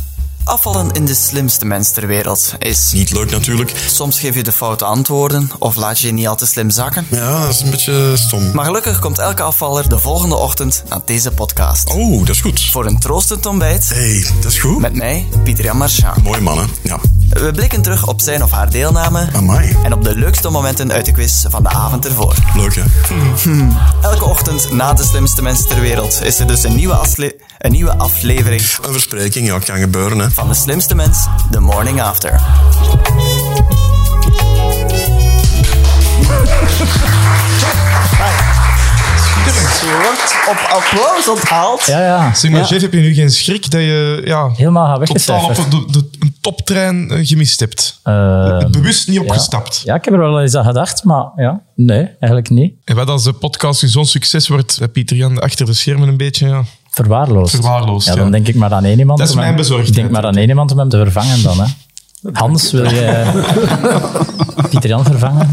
B: Afvallen in de slimste mens ter wereld is...
F: Niet leuk natuurlijk.
B: Soms geef je de foute antwoorden of laat je je niet al te slim zakken.
F: Ja, Ah, dat is een beetje stom.
B: Maar gelukkig komt elke afvaller de volgende ochtend naar deze podcast.
F: Oh, dat is goed.
B: Voor een troostend ontbijt
F: hey, dat is goed.
B: met mij, Pieter-Jan Marchand.
F: Mooi man, hè? Ja.
B: We blikken terug op zijn of haar deelname
F: Amai.
B: en op de leukste momenten uit de quiz van de avond ervoor.
F: Leuk, hè?
B: Elke ochtend na de slimste mensen ter wereld is er dus een nieuwe, afle- een nieuwe aflevering
F: Een verspreking, ja, kan gebeuren, hè?
B: van de slimste mens, The Morning After. Je wordt op applaus onthaald.
C: Ja, ja.
D: Zeg maar, Jeff, heb je nu geen schrik dat je ja,
C: Helemaal gaat
D: totaal op
C: weggecijferd.
D: de, de, een toptrein eh, gemist hebt?
C: Ehm,
D: Bewust niet
C: ja.
D: opgestapt.
C: Ja, ik heb er wel eens aan gedacht, maar ja, nee, eigenlijk niet.
D: En wat als de podcast nu zo'n succes wordt, dat Pieter Jan achter de schermen een beetje... Ja.
C: Verwaarloosd.
D: Verwaarloosd,
C: Ja, dan
D: ja.
C: denk ik maar aan één iemand.
D: Dat is
C: om hem-
D: mijn bezorgdheid.
C: Ik denk maar aan één iemand om hem te vervangen dan, hè. Hans, wil
D: (laughs)
C: je Pieter Jan vervangen?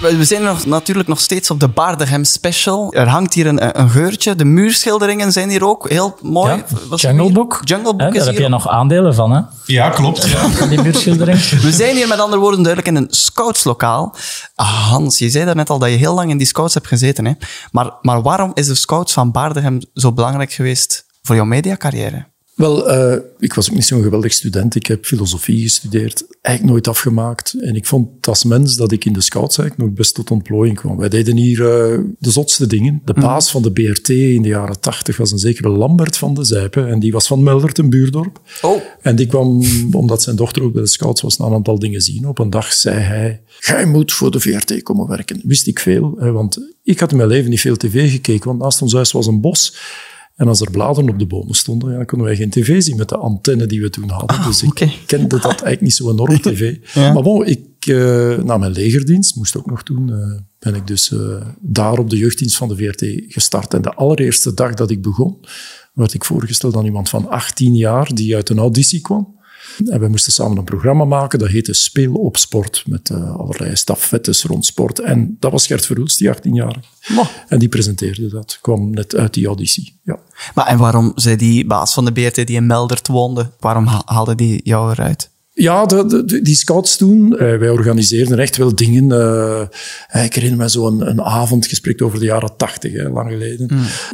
B: We we zijn nog, natuurlijk nog steeds op de Baardegem Special. Er hangt hier een, een geurtje. De muurschilderingen zijn hier ook heel mooi.
C: Ja,
B: Was het
C: Jungle
B: hier?
C: Book.
B: Jungle
C: Hè,
B: Book is
C: Daar heb
B: hier.
C: je nog aandelen van, hè?
D: Ja, klopt. Ja.
C: Van
B: (laughs)
C: die buurtschildering.
B: We zijn hier met andere woorden duidelijk in een scoutslokaal. Ah, Hans, je zei daarnet al dat je heel lang in die scouts hebt gezeten. Hè? Maar, maar waarom is de scouts van Baardegem zo belangrijk geweest voor jouw mediacarrière?
E: Wel, eh, ik was ook niet zo'n geweldig student. Ik heb filosofie gestudeerd, eigenlijk nooit afgemaakt. En ik vond als mens dat ik in de scouts eigenlijk nog best tot ontplooiing kwam. Wij deden hier eh, de zotste dingen.
B: Mm.
E: De baas van de BRT in de jaren tachtig was een zekere Lambert van de Zijpen. En die was van Meldert, een buurdorp.
B: Oh.
E: En die kwam, omdat zijn dochter ook bij de scouts was, een aantal dingen zien. Op een dag zei hij, jij moet voor de VRT komen werken. Wist ik veel, hè, want ik had in mijn leven niet veel tv gekeken. Want naast ons huis was een bos. En als er bladeren op de bomen stonden, ja, dan konden wij geen tv zien met de antenne die we toen hadden. dus ik
B: oké.
E: kende dat eigenlijk niet zo enorm, tv. Maar bon, ik, eh, na mijn legerdienst, moest ook nog doen, eh, ben ik dus eh, daar op de jeugddienst van de VRT gestart. En de allereerste dag dat ik begon, werd ik voorgesteld aan iemand van 18 jaar die uit een auditie kwam. En we moesten samen een programma maken, dat heette Speel op Sport, met eh, allerlei stafettes rond sport. En dat was Gert Verhoels, die 18-jarige. En die presenteerde dat, kwam net uit die auditie. Ja.
B: Maar en waarom zei die baas van de BRT die in Meldert woonde, waarom ha- haalde die jou eruit?
E: Ja, de, de- de- die scouts toen, eh, wij organiseerden echt wel dingen. eh, ik herinner me zo'n een avondgesprek over de jaren tachtig, lang geleden.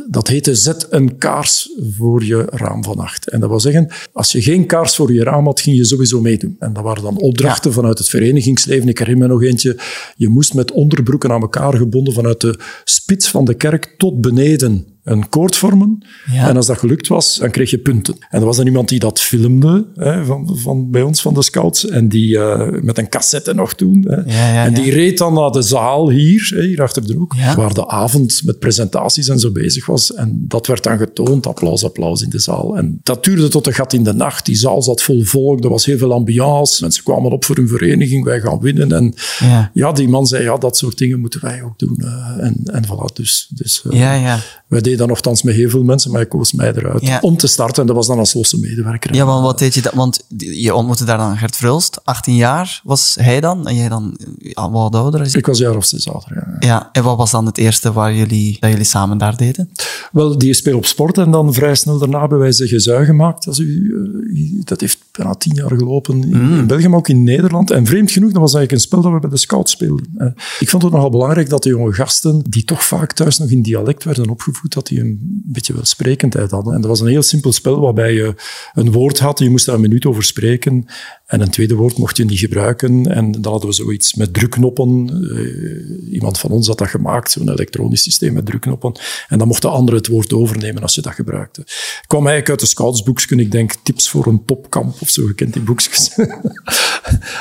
E: Dat heette zet een kaars voor je raam vannacht. En dat wil zeggen, als je geen kaars voor je raam had, ging je sowieso meedoen. En dat waren dan opdrachten vanuit het verenigingsleven. Ik herinner me nog eentje, je moest met onderbroeken aan elkaar gebonden vanuit de spits van de kerk tot beneden een koord vormen. En als dat gelukt was, dan kreeg je punten. En er was dan iemand die dat filmde hè, van, van, bij ons van de scouts. En die eh, met een cassette nog toen. Hè.
B: Ja, ja,
E: en
B: ja.
E: die reed dan naar de zaal hier, hè, hier achter de hoek.
B: Ja.
E: Waar de avond met presentaties en zo bezig was. En dat werd dan getoond. Applaus, applaus in de zaal. En dat duurde tot de gat in de nacht. Die zaal zat vol volk. Er was heel veel ambiance. Mensen kwamen op voor hun vereniging. Wij gaan winnen. En
B: Ja.
E: ja, die man zei, ja, dat soort dingen moeten wij ook doen. eh. en, en voilà, dus... dus eh,
B: Ja, ja.
E: wij deden dat nogthans met heel veel mensen, maar ik koos mij eruit
B: Ja.
E: om te starten. En dat was dan als losse medewerker.
B: Ja, want wat deed je dat? Want je ontmoette daar dan Gert Vrulst, 18 jaar was hij dan, en jij dan ja, wat ouder. Als je-
E: Ik was een jaar of zes ouder. Ja.
B: Ja, en wat was dan het eerste waar jullie, dat jullie samen daar deden?
E: Wel, die speel op sport en dan vrij snel daarna hebben wij ze gezui gemaakt. Als u, eh, dat heeft bijna tien jaar gelopen in, in België, maar ook in Nederland. En vreemd genoeg, dat was eigenlijk een spel dat we bij de scouts speelden. Eh, ik vond het nogal belangrijk dat de jonge gasten, die toch vaak thuis nog in dialect werden opgevoed, dat die een beetje welsprekendheid hadden. En dat was een heel simpel spel waarbij je een woord had, je moest daar een minuut over spreken. En een tweede woord mocht je niet gebruiken. En dan hadden we zoiets met drukknoppen. Eh, iemand van ons had dat gemaakt, zo'n elektronisch systeem met drukknoppen. En dan mocht de ander het woord overnemen als je dat gebruikte. Ik kwam eigenlijk uit de scoutsboeksken. Ik denk tips voor een popkamp of zo. Je kent die boekjes. (laughs) en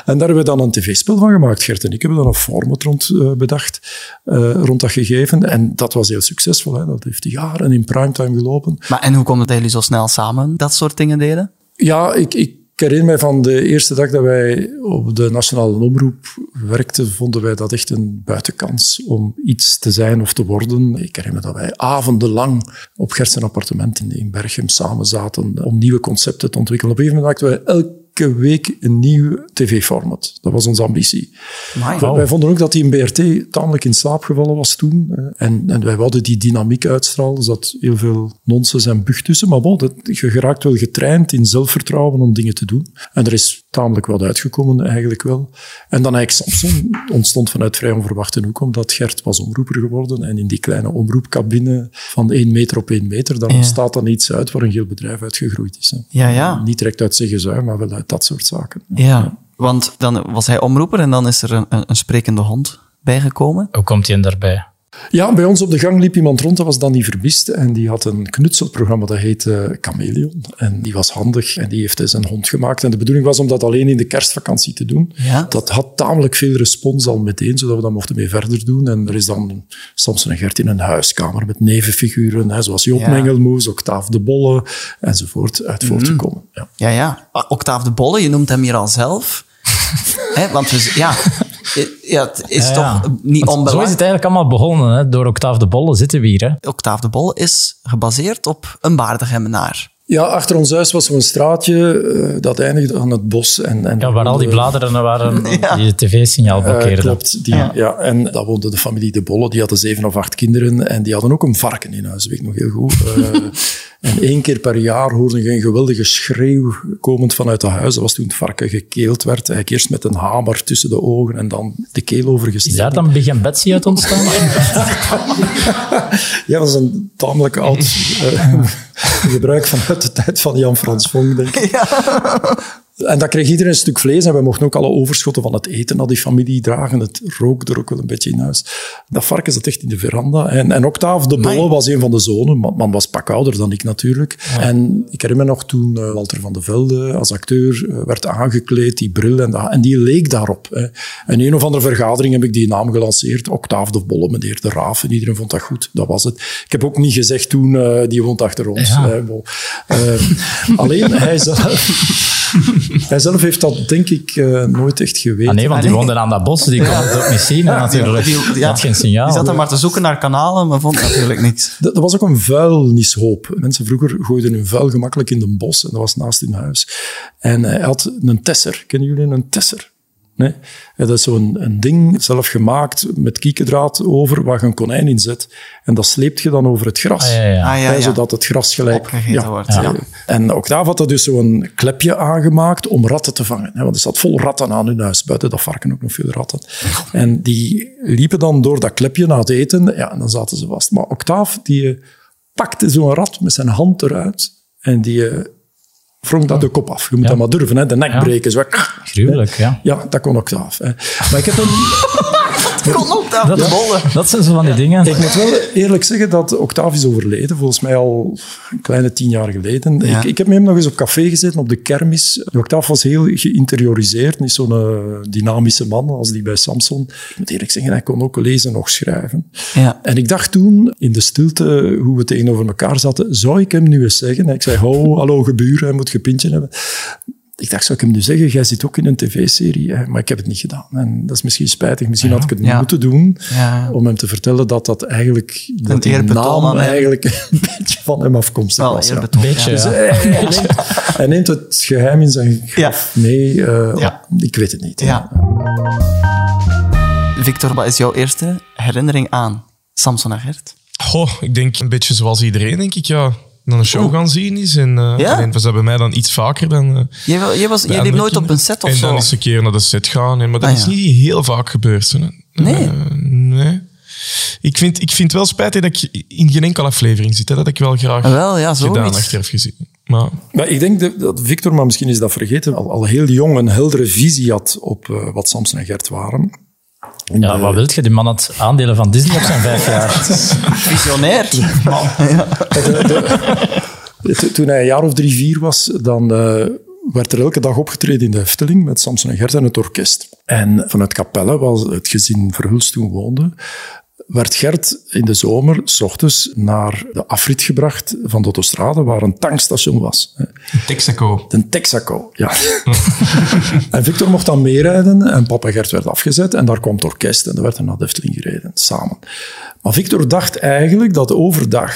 E: daar hebben we dan een tv-spel van gemaakt. Gert en ik hebben dan een format rond eh, bedacht, eh, rond dat gegeven. En dat was heel succesvol. Hè. Dat heeft jaren in primetime gelopen.
B: Maar en hoe komt het dat jullie zo snel samen dat soort dingen deden?
E: Ja, ik, ik herinner mij van de eerste dag dat wij op de Nationale Omroep werkten, vonden wij dat echt een buitenkans om iets te zijn of te worden. Ik herinner me dat wij avondenlang op Gert's appartement in, in Berchem samen zaten om nieuwe concepten te ontwikkelen. Op een gegeven moment maakten wij elke week een nieuw tv-format. Dat was onze ambitie.
B: Amai.
E: Wij- Wij vonden ook dat die in BRT tamelijk in slaap gevallen was toen. eh. En, en wij wilden die dynamiek uitstralen. Er zat heel veel nonsens en bucht tussen. Maar bon, dat, je geraakt wel getraind in zelfvertrouwen om dingen te doen. En er is tamelijk wat uitgekomen eigenlijk wel. En dan eigenlijk Samson ontstond vanuit vrij onverwachte hoek. Omdat Gert was omroeper geworden. En in die kleine omroepcabine van één meter op één meter. Daar
B: Ja.
E: ontstaat dan iets uit waar een heel bedrijf uitgegroeid is. hè.
B: Ja, ja.
E: Niet direct uit zeggenzuim, maar wel uit dat soort zaken.
B: Ja, want dan was hij omroeper en dan is er een, een, een sprekende hond bijgekomen.
C: Hoe komt hij daarbij?
E: Ja, bij ons op de gang liep iemand rond, dat was dan die vermist. En die had een knutselprogramma, dat heette Chameleon. En die was handig en die heeft dus een hond gemaakt. En de bedoeling was om dat alleen in de kerstvakantie te doen.
B: Ja.
E: Dat had tamelijk veel respons al meteen, zodat we dat mochten mee verder doen. En er is dan Samson en Gert in een huiskamer met nevenfiguren, hè, zoals Joop
B: Ja.
E: Mengelmoes, Octaaf de Bolle, enzovoort, uit
C: Mhm.
E: voortgekomen. Ja.
B: Ja, ja. Ah, Octaaf de Bolle, je noemt hem hier al
C: (laughs)
B: zelf. Hè, want we z- ja, ja, het is
C: Ja, ja.
B: toch niet
C: Want Zo is het
B: onbelangrijk.
C: eigenlijk allemaal begonnen. Hè? Door Octave de Bolle zitten we hier. Hè?
B: Octaaf de Bolle is gebaseerd op een baardigemmenaar.
E: Ja, achter ons huis was zo'n straatje, eh, dat eindigde aan het bos. En, en
C: Ja, waar al die
E: Eh,
C: bladeren waren die het tv-signaal
E: Eh,
C: blokkeerden.
E: klopt. Die, ja. en daar woonde de
C: (laughs)
E: familie De Bolle. Die hadden zeven of acht kinderen. En die hadden ook een varken in huis, weet ik nog heel goed. Eh, En één keer per jaar hoorde je een geweldige schreeuw komend vanuit de huis. Dat was toen het varken gekeeld werd. Eigenlijk eerst met een hamer tussen de ogen en dan de keel
C: Is
E: overgestoken.
C: daar dan Big en Betsy uit ontstaan?
E: (laughs)
C: Ah,
E: Ja, dat is een tamelijk oud
C: (laughs)
E: eh, gebruik vanuit de tijd van Jan-Frans Vonk, denk ik. En dan kreeg iedereen een stuk vlees en we mochten ook alle overschotten van het eten naar die familie dragen. Het rook er ook wel een beetje in huis. Dat varken zat echt in de veranda. En, en Octave de Bolle was een van de zonen, maar man was pak ouder dan ik natuurlijk. En ik herinner me nog toen eh, Walter van de Velde als acteur eh, werd aangekleed, die bril en, dat, en die leek daarop. Hè. En in een of andere vergadering heb ik die naam gelanceerd. Octave de Bolle, meneer de Raaf. En iedereen vond dat goed, dat was het. Ik heb ook niet gezegd toen, eh, die woont achter ons. hè, bon. Eh, (laughs) alleen hij zelf... Hij zelf heeft dat, denk ik, eh, nooit echt geweten.
C: Ah, nee, want die
B: Ah, nee.
C: woonden aan dat bos, die kon het ook niet zien. en natuurlijk.
B: Die-
C: Die,
B: ja.
C: had geen signaal.
B: Die zat dan maar te zoeken naar kanalen, maar vond natuurlijk
C: (laughs)
B: niks.
E: Dat, dat was ook een vuilnishoop. Mensen vroeger gooiden hun vuil gemakkelijk in de bos en dat was naast hun huis. En eh, hij had een tesser. Kennen jullie een tesser? Nee? Ja, Dat is zo'n een ding, zelf gemaakt, met kiekendraad over, waar je een konijn in zet. En dat sleept je dan over het gras.
C: Ah, ja, ja.
B: Ah, ja,
E: Hè,
B: ja.
E: Zodat het gras gelijk...
B: Opgegeten wordt, ja.
E: En Octave had er dus zo'n klepje aangemaakt om ratten te vangen. hè, Want er zat vol ratten aan hun huis. Buiten dat varken ook nog veel ratten. En die liepen dan door dat klepje na het eten. Ja, en dan zaten ze vast. Maar Octave, die eh, pakte zo'n rat met zijn hand eruit. En die eh, wrong dat de kop af. Je moet dat maar durven, hè. De nek
C: Ja.
E: breken. Zo.
C: Gruwelijk, ja.
E: Ja, dat kon Octave. Hè. Maar ik heb hem...
B: Kon op dat
C: Dat,
B: de bolle.
C: dat zijn zo van die dingen.
E: Ik moet wel eerlijk zeggen dat Octave is overleden, volgens mij al een kleine tien jaar geleden.
B: Ja.
E: Ik, ik heb met hem nog eens op café gezeten, op de kermis. Octave was heel geïnterioriseerd, niet zo'n eh, dynamische man als die bij Samson. Ik moet eerlijk zeggen, hij kon ook lezen, nog schrijven.
B: Ja.
E: En ik dacht toen, in de stilte, hoe we tegenover elkaar zaten, zou ik hem nu eens zeggen? Ik zei, ho, hallo gebuur, hij moet gepintje hebben. Ik dacht, zou ik hem nu zeggen, jij zit ook in een tv-serie, hè? maar ik heb het niet gedaan. En dat is misschien spijtig, misschien had ik het
B: Ja.
E: moeten doen,
B: Ja.
E: om hem te vertellen dat dat eigenlijk, dat die
B: eerbetoon aan
E: naam
B: hem.
E: eigenlijk een (laughs) beetje van hem afkomstig
B: Wel,
E: was. ja.
B: eerbetoon.
C: Beetje,
E: Dus
C: ja.
E: hij, hij neemt, hij neemt het geheim in zijn graf mee. eh,
B: Ja.
E: Ik weet het niet.
B: Ja. Victor, wat is jouw eerste herinnering aan Samson en Gert?
D: Goh, ik denk een beetje zoals iedereen, denk ik, ja. Dan een show gaan zien is. En eh,
B: Ja?
D: alleen was dat bij mij dan iets vaker dan... eh,
B: Jij, wel- jij, was, jij
D: bij
B: liep
D: andere
B: nooit op
D: kinderen.
B: een set of
D: en
B: zo?
D: dan eens een keer naar de set gaan. hè. Maar dat
B: Ah,
D: is
B: ja.
D: niet heel vaak gebeurd. Hè.
B: Nee?
D: Eh, nee. Ik vind, ik vind wel spijtig dat ik in geen enkele aflevering zit. Hè. Dat had ik wel graag
B: Ah, wel, ja,
D: gedaan
B: zoiets.
D: achteraf gezien. Maar
E: Maar ik denk dat- dat Victor, maar misschien is dat vergeten, al, al heel jong een heldere visie had op eh, wat Samson en Gert waren.
C: Ja, wat wilt je? Die man had aandelen van Disney op zijn vijf jaar.
B: Visionair.
E: T- Toen hij een jaar of drie, vier was, dan eh, werd er elke dag opgetreden in de Hefteling met Samson en Gert en het orkest. En vanuit Capelle, waar het gezin Verhulst toen woonde, werd Gert in de zomer, s ochtends, naar de afrit gebracht van de autostrade, waar een tankstation was. hè.
D: Texaco.
E: Een Texaco, ja. en Victor mocht dan meerijden en papa Gert werd afgezet en daar kwam het orkest en dan werd er naar de Efteling gereden, samen. Maar Victor dacht eigenlijk dat overdag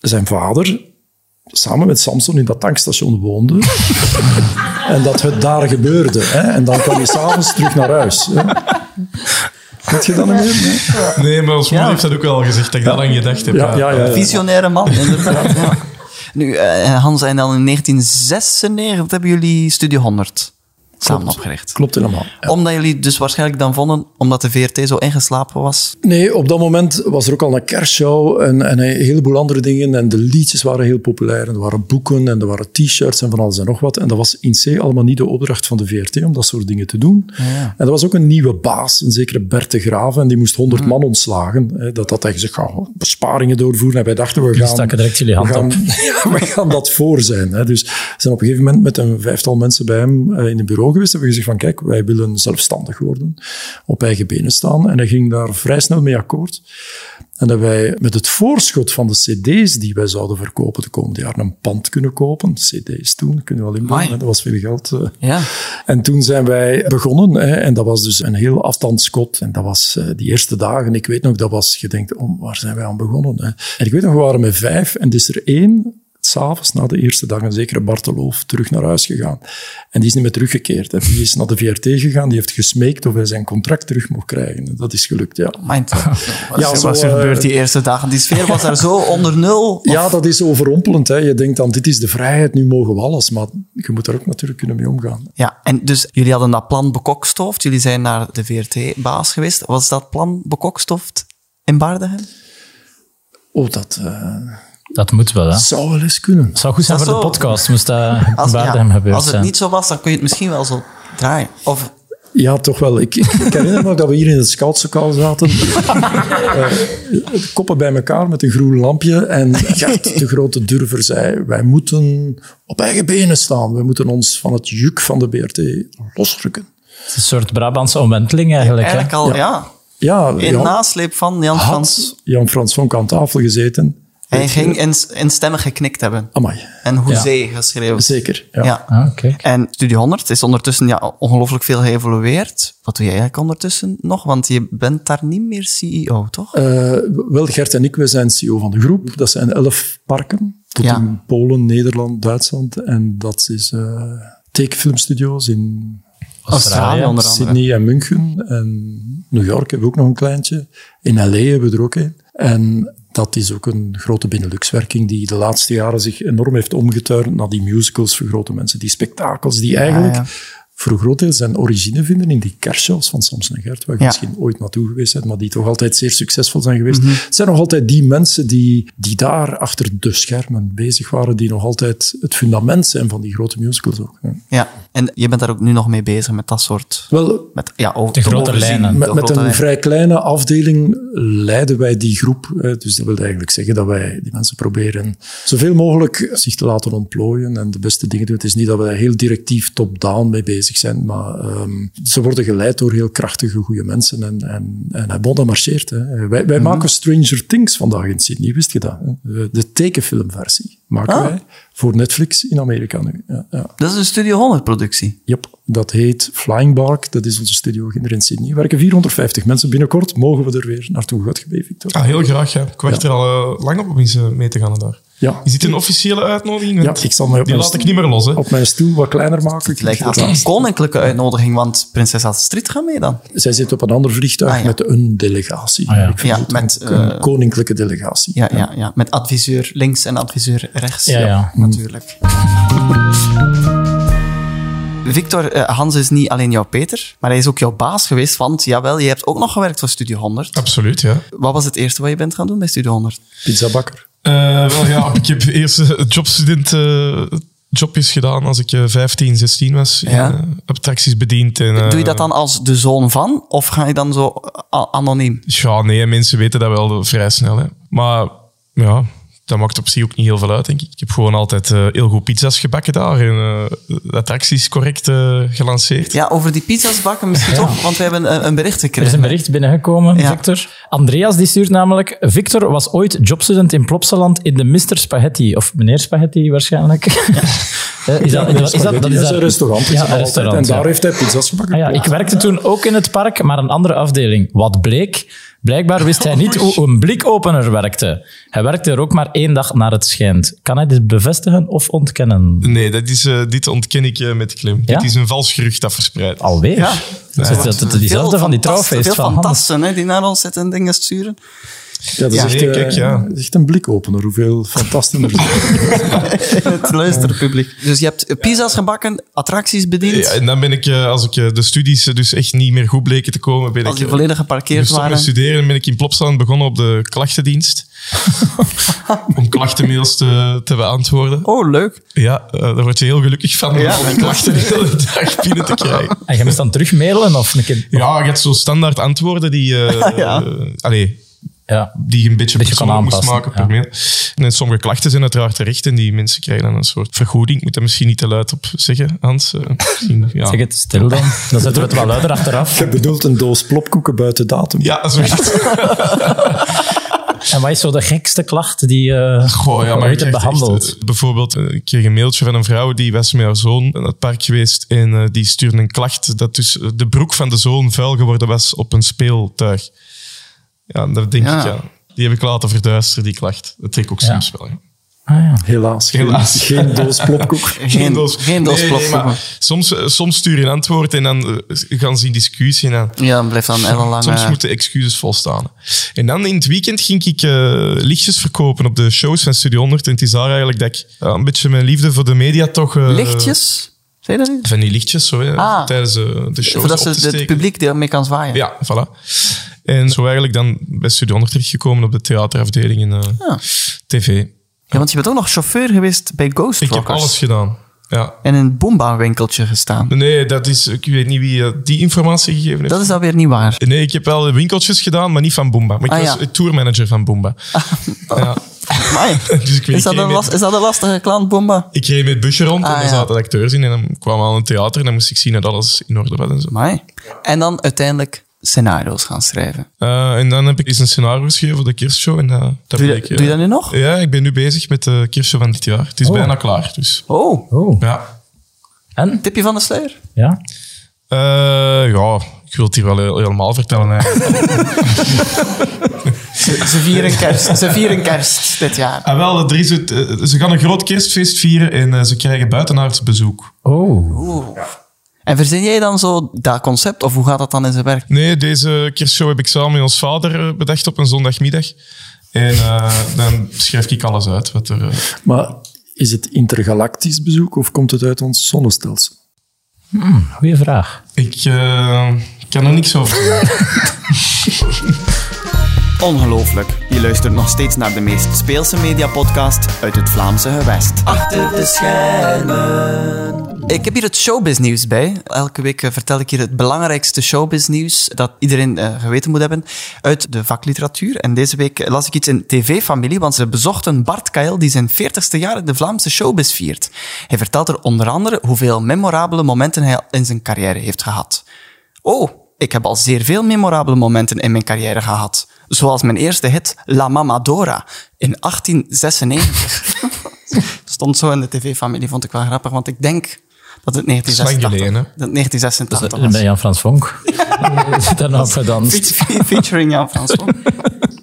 E: zijn vader samen met Samson in dat tankstation woonde en dat het daar gebeurde. Hè? En dan kwam hij s'avonds terug naar huis. Hè? Weet je dat nog meer? Nee?
D: Nee, maar ons moeder heeft dat ook wel gezegd. Dat ik dat aan gedacht heb.
E: Ja, ja, ja, ja.
B: Visionaire man, inderdaad. ja. Nu, eh, Hans, en dan in 1996 hebben jullie Studio 100 samen opgericht.
E: Klopt helemaal.
B: Omdat jullie dus waarschijnlijk dan vonden, omdat de VRT zo ingeslapen was.
E: Nee, op dat moment was er ook al een kerstshow en, en een heleboel andere dingen. En de liedjes waren heel populair. En er waren boeken en er waren t-shirts en van alles en nog wat. En dat was in C allemaal niet de opdracht van de VRT om dat soort dingen te doen.
C: Ah,
E: En er was ook een nieuwe baas, een zekere Bert de Graven. En die moest 100
C: Mhm.
E: man ontslagen. hè. Dat had hij gezegd, gaan besparingen doorvoeren. En wij dachten, we gaan...
C: staken direct jullie hand
E: we gaan,
C: op.
E: (laughs) we gaan dat voor zijn. Hè. Dus we zijn op een gegeven moment met een vijftal mensen bij hem eh, in het bureau geweest. Hebben we gezegd van kijk, wij willen zelfstandig worden. Op eigen benen staan. En hij ging daar vrij snel mee akkoord. En dat wij met het voorschot van de cd's die wij zouden verkopen de komende jaren een pand kunnen kopen. Cd's toen, kunnen we al inbouwen.
B: Amai.
E: hè. Dat was veel geld. eh.
B: Ja.
E: En toen zijn wij begonnen. Hè, en dat was dus een heel afstandskot. En dat was eh, die eerste dagen. Ik weet nog, dat was, je denkt, oh, waar zijn wij aan begonnen? Hè? En ik weet nog, we waren met vijf. En er is er één s'avonds na de eerste dag een zekere Barteloof terug naar huis gegaan. En die is niet meer teruggekeerd. Hè. Die is naar de VRT gegaan, die heeft gesmeekt of hij zijn contract terug mocht krijgen. Dat is gelukt, ja.
B: Mind.
E: Ja,
B: ja,
E: zo,
B: was er
E: eh,
B: gebeurd die eerste dagen? Die sfeer was daar zo onder nul. Of-
E: Ja, dat is overrompelend. Hè. Je denkt dan, dit is de vrijheid, nu mogen we alles. Maar je moet daar ook natuurlijk kunnen mee omgaan.
B: Ja, en dus jullie hadden dat plan bekokstoofd. Jullie zijn naar de VRT-baas geweest. Was dat plan bekokstoofd in Baardenheim?
E: Oh, dat eh,
C: Dat moet wel, hè.
E: zou wel eens kunnen.
C: Het zou goed zijn
B: Dat
C: voor de
B: zo-
C: podcast, moest dat
B: Als,
C: in
B: ja,
C: Baardem gebeurd
B: als het
C: zijn.
B: niet zo was, dan kun je het misschien wel zo draaien. Of
E: Ja, toch wel. Ik, ik, ik herinner me dat we hier in het scoutsokaal (laughs) zaten. Eh, koppen bij elkaar met een groen lampje. En Gert, de grote durver, zei... Wij moeten op eigen benen staan. We moeten ons van het juk van de BRT losrukken.
C: Het is een soort Brabantse omwenteling eigenlijk. hè.
B: eigenlijk al, ja.
E: Ja,
B: in
E: Jan,
B: nasleep van Jan Frans.
E: had Jan-Frans Vonk aan tafel gezeten.
B: Hij ging in, in stemmen geknikt hebben.
E: Amai,
B: En hoezee geschreven.
E: zeker. Ja.
B: Ja.
C: Ah, oké.
B: En Studio 100 is ondertussen ja, ongelooflijk veel geëvolueerd. Wat doe jij eigenlijk ondertussen nog? Want je bent daar niet meer CEO, toch?
E: Eh, wel, Gert en ik, we zijn CEO van de groep. Dat zijn elf parken. Tot
B: Ja.
E: in Polen, Nederland, Duitsland. En dat is eh Take Film Studios in
B: Australië onder andere.
E: Sydney en München. En New York hebben we ook nog een kleintje. In L.A. hebben we er ook een. En dat is ook een grote Benelux-werking die de laatste jaren zich enorm heeft omgetuind naar die musicals voor grote mensen. Die spektakels die eigenlijk
B: ja.
E: voor een groot deel zijn origine vinden in die kerstshows van Samson en Gert, waar je
B: Ja.
E: misschien ooit naartoe geweest bent, maar die toch altijd zeer succesvol zijn geweest.
B: Mhm.
E: Het zijn nog altijd die mensen die, die daar achter de schermen bezig waren, die nog altijd het fundament zijn van die grote musicals ook. ja.
B: Ja, en je bent daar ook nu nog mee bezig met dat soort...
E: Wel,
B: Met, ja, over,
C: De grote
B: overzien,
C: lijnen.
B: de
E: Met, met
B: grote
E: een
B: lijnen.
E: vrij kleine afdeling leiden wij die groep. hè. Dus dat wil eigenlijk zeggen dat wij die mensen proberen zoveel mogelijk zich te laten ontplooien en de beste dingen doen. Het is niet dat wij heel directief top-down mee bezig zijn, maar ehm, ze worden geleid door heel krachtige, goede mensen. En, en, en eh, bon, dat marcheert. Hè. Wij, wij maken Stranger Things vandaag in Sydney, wist je dat? hè? De tekenfilmversie maken wij voor Netflix in Amerika nu. Ja, ja.
B: Dat is een Studio 100-productie.
E: Yep. Dat heet Flying Bark. Dat is onze studio hier in Sydney. Er werken 450 mensen. Binnenkort mogen we er weer naartoe. Wat gebeurt, Victor?
D: Ah, heel graag, ja. Ik wacht er al eh, lang op om eens eh, mee te gaan daar.
E: Ja.
D: Is dit een officiële uitnodiging? Want
E: Ja, ik zal mij op
D: die
E: mijn
D: laat
E: st-
D: ik niet meer los, hè.
E: Op mijn stoel wat kleiner maken.
B: Het lijkt als een koninklijke uitnodiging, want prinses Astrid gaat mee dan.
E: Zij zit op een ander vliegtuig
B: Ah, ja.
E: met een delegatie.
D: Ah,
C: ja.
E: Ik vind
B: Ja,
E: het
B: met,
E: ook een
B: eh,
E: koninklijke delegatie.
B: Ja, ja, ja. Met adviseur links en adviseur rechts. mm.
C: Ja, ja.
B: Natuurlijk. Victor, eh, Hans is niet alleen jouw Peter, maar hij is ook jouw baas geweest, want jawel, je hebt ook nog gewerkt voor Studio 100.
D: Absoluut, ja.
B: Wat was het eerste wat je bent gaan doen bij Studio 100?
E: Pizzabakker.
D: Eh, wel ja, ik heb eerst eh, jobstudent eh, jobjes gedaan als ik eh, 15, 16 was.
B: Ja.
D: Eh, abstracties bediend. En, eh,
B: Doe je dat dan als de zoon van, of ga je dan zo eh, anoniem?
D: Ja, nee, mensen weten dat wel vrij snel. Hè. Maar ja, dat maakt op zich ook niet heel veel uit, denk ik. Ik heb gewoon altijd eh, heel goed pizza's gebakken daar en eh, de attracties correct eh, gelanceerd.
B: Ja, over die pizza's bakken misschien toch, want we hebben eh, een bericht
C: Er is een
B: gekregen.
C: bericht binnengekomen,
B: Ja.
C: Victor. Andreas die stuurt namelijk... Victor was ooit jobstudent in Plopsaland in de Mr. Spaghetti. Of meneer
B: (laughs)
C: Spaghetti waarschijnlijk. Eh, Is dat, is dat, is dat,
E: Dat
C: is
E: is
C: dat-
E: een restaurant. is
C: Ja,
E: er nog
C: een
E: altijd.
C: restaurant.
E: en daar
C: ja.
E: heeft hij pizza's gebakken.
C: Ah ja, ik werkte toen ook in het park, maar een andere afdeling. Wat bleek? Blijkbaar wist hij niet hoe een blikopener werkte. Hij werkte er ook maar één dag naar het schijnt. Kan hij dit bevestigen of ontkennen?
D: Nee, dat is, eh, dit ontken ik eh, met klem.
C: Ja?
D: Dit is een vals gerucht dat verspreidt.
C: Alweer?
B: Ja.
C: Dat is dat, dat, diezelfde van die trouwfeest
B: Veel
C: van Hans.
B: fantasten hè, die naar ons zitten en dingen
C: (laughs)
B: sturen.
E: Ja, dat is
B: Ja,
E: echt,
D: nee,
E: eh,
D: kijk, ja.
E: dat is echt een blikopener.
D: (laughs)
E: Hoeveel fantastisch er zijn.
B: het luisterpubliek. Dus je hebt pizza's gebakken, attracties bediend.
D: Ja, en dan ben ik, eh, als ik eh, de studies eh, dus echt niet meer goed bleken te komen, ben
B: als
D: ik
B: die
D: eh,
B: volledig geparkeerd
D: gestopt
B: waren.
D: met studeren en ben ik in Plopsaland begonnen op de
B: (laughs)
D: klachtendienst. om klachtenmails te, te beantwoorden.
B: Oh, leuk.
D: Ja, eh, daar word je heel gelukkig van om al die klachten de hele dag binnen te krijgen.
C: En je moest dan terug mailen of een keer...
D: Ja, je hebt zo standaard antwoorden die,
B: (laughs)
D: eh,
B: Ja.
D: eh, allee,
C: Ja.
D: die je een beetje,
C: Beetje kan
D: persoonlijk moest
C: aanpassen,
D: maken per mail. En sommige klachten zijn uiteraard terecht en die mensen krijgen dan een soort vergoeding. Ik moet dat misschien niet te luid op zeggen, Hans. Eh, misschien, ja.
C: Zeg het stil dan. Dan zetten we het wel luider achteraf.
E: Je bedoelt een doos plopkoeken buiten datum.
D: Ja, zoiets.
C: En wat is zo de gekste klacht die eh
D: Goh, ja, maar
C: ooit
D: je
C: hebt
D: krijgt
C: behandeld?
D: echt, eh, bijvoorbeeld, eh, ik kreeg een mailtje van een vrouw die was met haar zoon naar het park geweest en eh, die stuurde een klacht dat dus eh, de broek van de zoon vuil geworden was op een speeltuig. Ja, dat denk
B: Ja.
D: ik, ja. Die heb ik laten verduisteren, die klacht. Dat trek ik ook soms wel. ja.
C: Ah,
E: Helaas. Geen,
D: Helaas.
E: geen doos plopkoek.
B: (laughs) Geen- geen doos plopkoeken.
D: maar soms, eh, soms stuur je een antwoord en dan eh, gaan ze in discussie. En dan,
B: Ja, dan blijft dan ellenlang...
D: Soms
B: eh,
D: moeten excuses volstaan. En dan in het weekend ging ik eh, lichtjes verkopen op de shows van Studio 100. En het is daar eigenlijk dat ik ja, een beetje mijn liefde voor de media toch... eh,
B: Lichtjes? Zeg je dat niet?
D: Van die lichtjes, zo, hè,
B: Ah.
D: tijdens eh, de shows
B: Voordat
D: op
B: ze
D: te
B: het
D: steken.
B: publiek ermee kan zwaaien.
D: Ja, voilà. En zo eigenlijk dan bij Studio 100 terechtgekomen op de theaterafdeling en eh,
B: Ja.
D: tv.
B: Ja, want je bent ook nog chauffeur geweest bij Ghost
D: Ik heb
B: Rockers.
D: alles gedaan. Ja.
B: En in een boomba-winkeltje gestaan.
D: Nee, dat is, ik weet niet wie eh, die informatie gegeven heeft.
B: Dat is dan weer niet waar.
D: Nee, ik heb wel winkeltjes gedaan, maar niet van Boomba. Maar ik
B: Ah,
D: was
B: ja.
D: tourmanager van Boomba. (laughs) Ja.
B: Amai.
D: (laughs) Dus ik weet
B: is, dat
D: geen
B: een last-
D: idee.
B: is dat een lastige klant, Bomba?
D: Ik reed met het busje rond en
B: Ah,
D: daar
B: ja.
D: zaten acteurs in. En dan kwamen we aan een theater en dan moest ik zien dat alles in orde was en zo.
B: Amai. En dan uiteindelijk scenario's gaan schrijven.
D: Eh, en dan heb ik eens een scenario geschreven voor de kerstshow. En, eh, dat
B: Doe je,
D: bleek,
B: doe
D: eh,
B: je dat nu nog?
D: Ja, ik ben nu bezig met de kerstshow van dit jaar. Het is bijna klaar, dus...
B: Oh,
C: Oh.
D: Ja.
C: En?
B: tipje van de
D: (laughs)
B: sluier.
C: Ja?
D: Eh, ja, ik wil het hier wel heel- helemaal vertellen eigenlijk.
B: Ze vieren kerst, ze vieren kerst dit jaar.
D: (laughs) ah, wel, er is het, eh, ze gaan een groot kerstfeest vieren en eh, ze krijgen buitenaards bezoek.
C: Oh.
B: En verzin jij dan zo dat concept, of hoe gaat dat dan in zijn werk?
D: Nee, deze kerstshow heb ik samen met ons vader eh, bedacht op een zondagmiddag. En eh, dan schrijf ik alles uit. Wat er, eh,
E: Maar is het intergalactisch bezoek of komt het uit ons zonnestelsel?
C: Goeie vraag.
D: ik eh, kan er niks over zeggen.
B: Ongelooflijk. Je luistert nog steeds naar de meest speelse mediapodcast uit het Vlaamse gewest. Achter de schermen. Ik heb hier het showbiznieuws bij. Elke week eh, vertel ik hier het belangrijkste showbiznieuws dat iedereen eh, geweten moet hebben uit de vakliteratuur. En deze week las ik iets in TV-familie, want ze bezochten Bart Kael die zijn 40ste jaar in de Vlaamse showbiz viert. Hij vertelt er onder andere hoeveel memorabele momenten hij in zijn carrière heeft gehad. Oh, ik heb al zeer veel memorabele momenten in mijn carrière gehad. Zoals mijn eerste hit La Mamadora in 1896. (laughs) Stond zo in de tv-familie, vond ik wel grappig, want ik denk dat het
D: Slang
B: 1986,
D: geleden, hè?
B: dat het 1986 was.
C: Eh, Bij Jan-Frans Vonk. Zit daar nou op gedanst?
B: Feat- Featuring Jan François.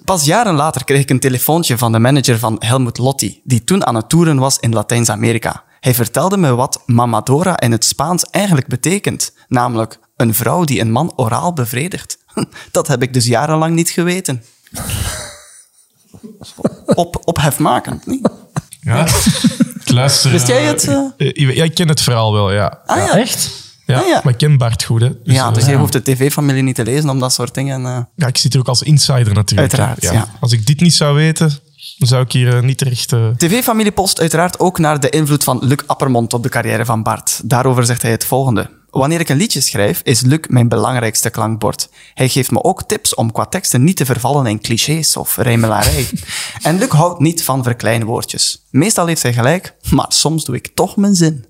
B: Pas jaren later kreeg ik een telefoontje van de manager van Helmut Lotti, die toen aan het toeren was in Latijns-Amerika. Hij vertelde me wat mamadora in het Spaans eigenlijk betekent, namelijk een vrouw die een man oraal bevredigt. (laughs) Dat heb ik dus jarenlang niet geweten. Op, ophefmakend, niet?
D: Ja. Ik luister...
B: Wist jij
D: eh,
B: het, eh?
D: eh, ja, ik ken het verhaal wel, ja.
B: Ah ja,
C: Echt?
D: Ja,
B: Ah, ja.
D: Maar ik ken Bart goed, hè. Dus,
B: ja
D: eh,
B: dus je hoeft de tv-familie niet te lezen om dat soort dingen... eh,
D: Ja, ik zit hier ook als insider natuurlijk.
B: Uiteraard,
D: hè.
B: ja.
D: Als ik dit niet zou weten, dan zou ik hier eh, niet terecht... eh,
B: TV-familie post uiteraard ook naar de invloed van Luc Appermond op de carrière van Bart. Daarover zegt hij het volgende. Wanneer ik een liedje schrijf, is Luc mijn belangrijkste klankbord. Hij geeft me ook tips om qua teksten niet te vervallen in clichés of rijmelarij. en Luc houdt niet van verkleinwoordjes. Meestal heeft hij gelijk, maar soms doe ik toch mijn zin.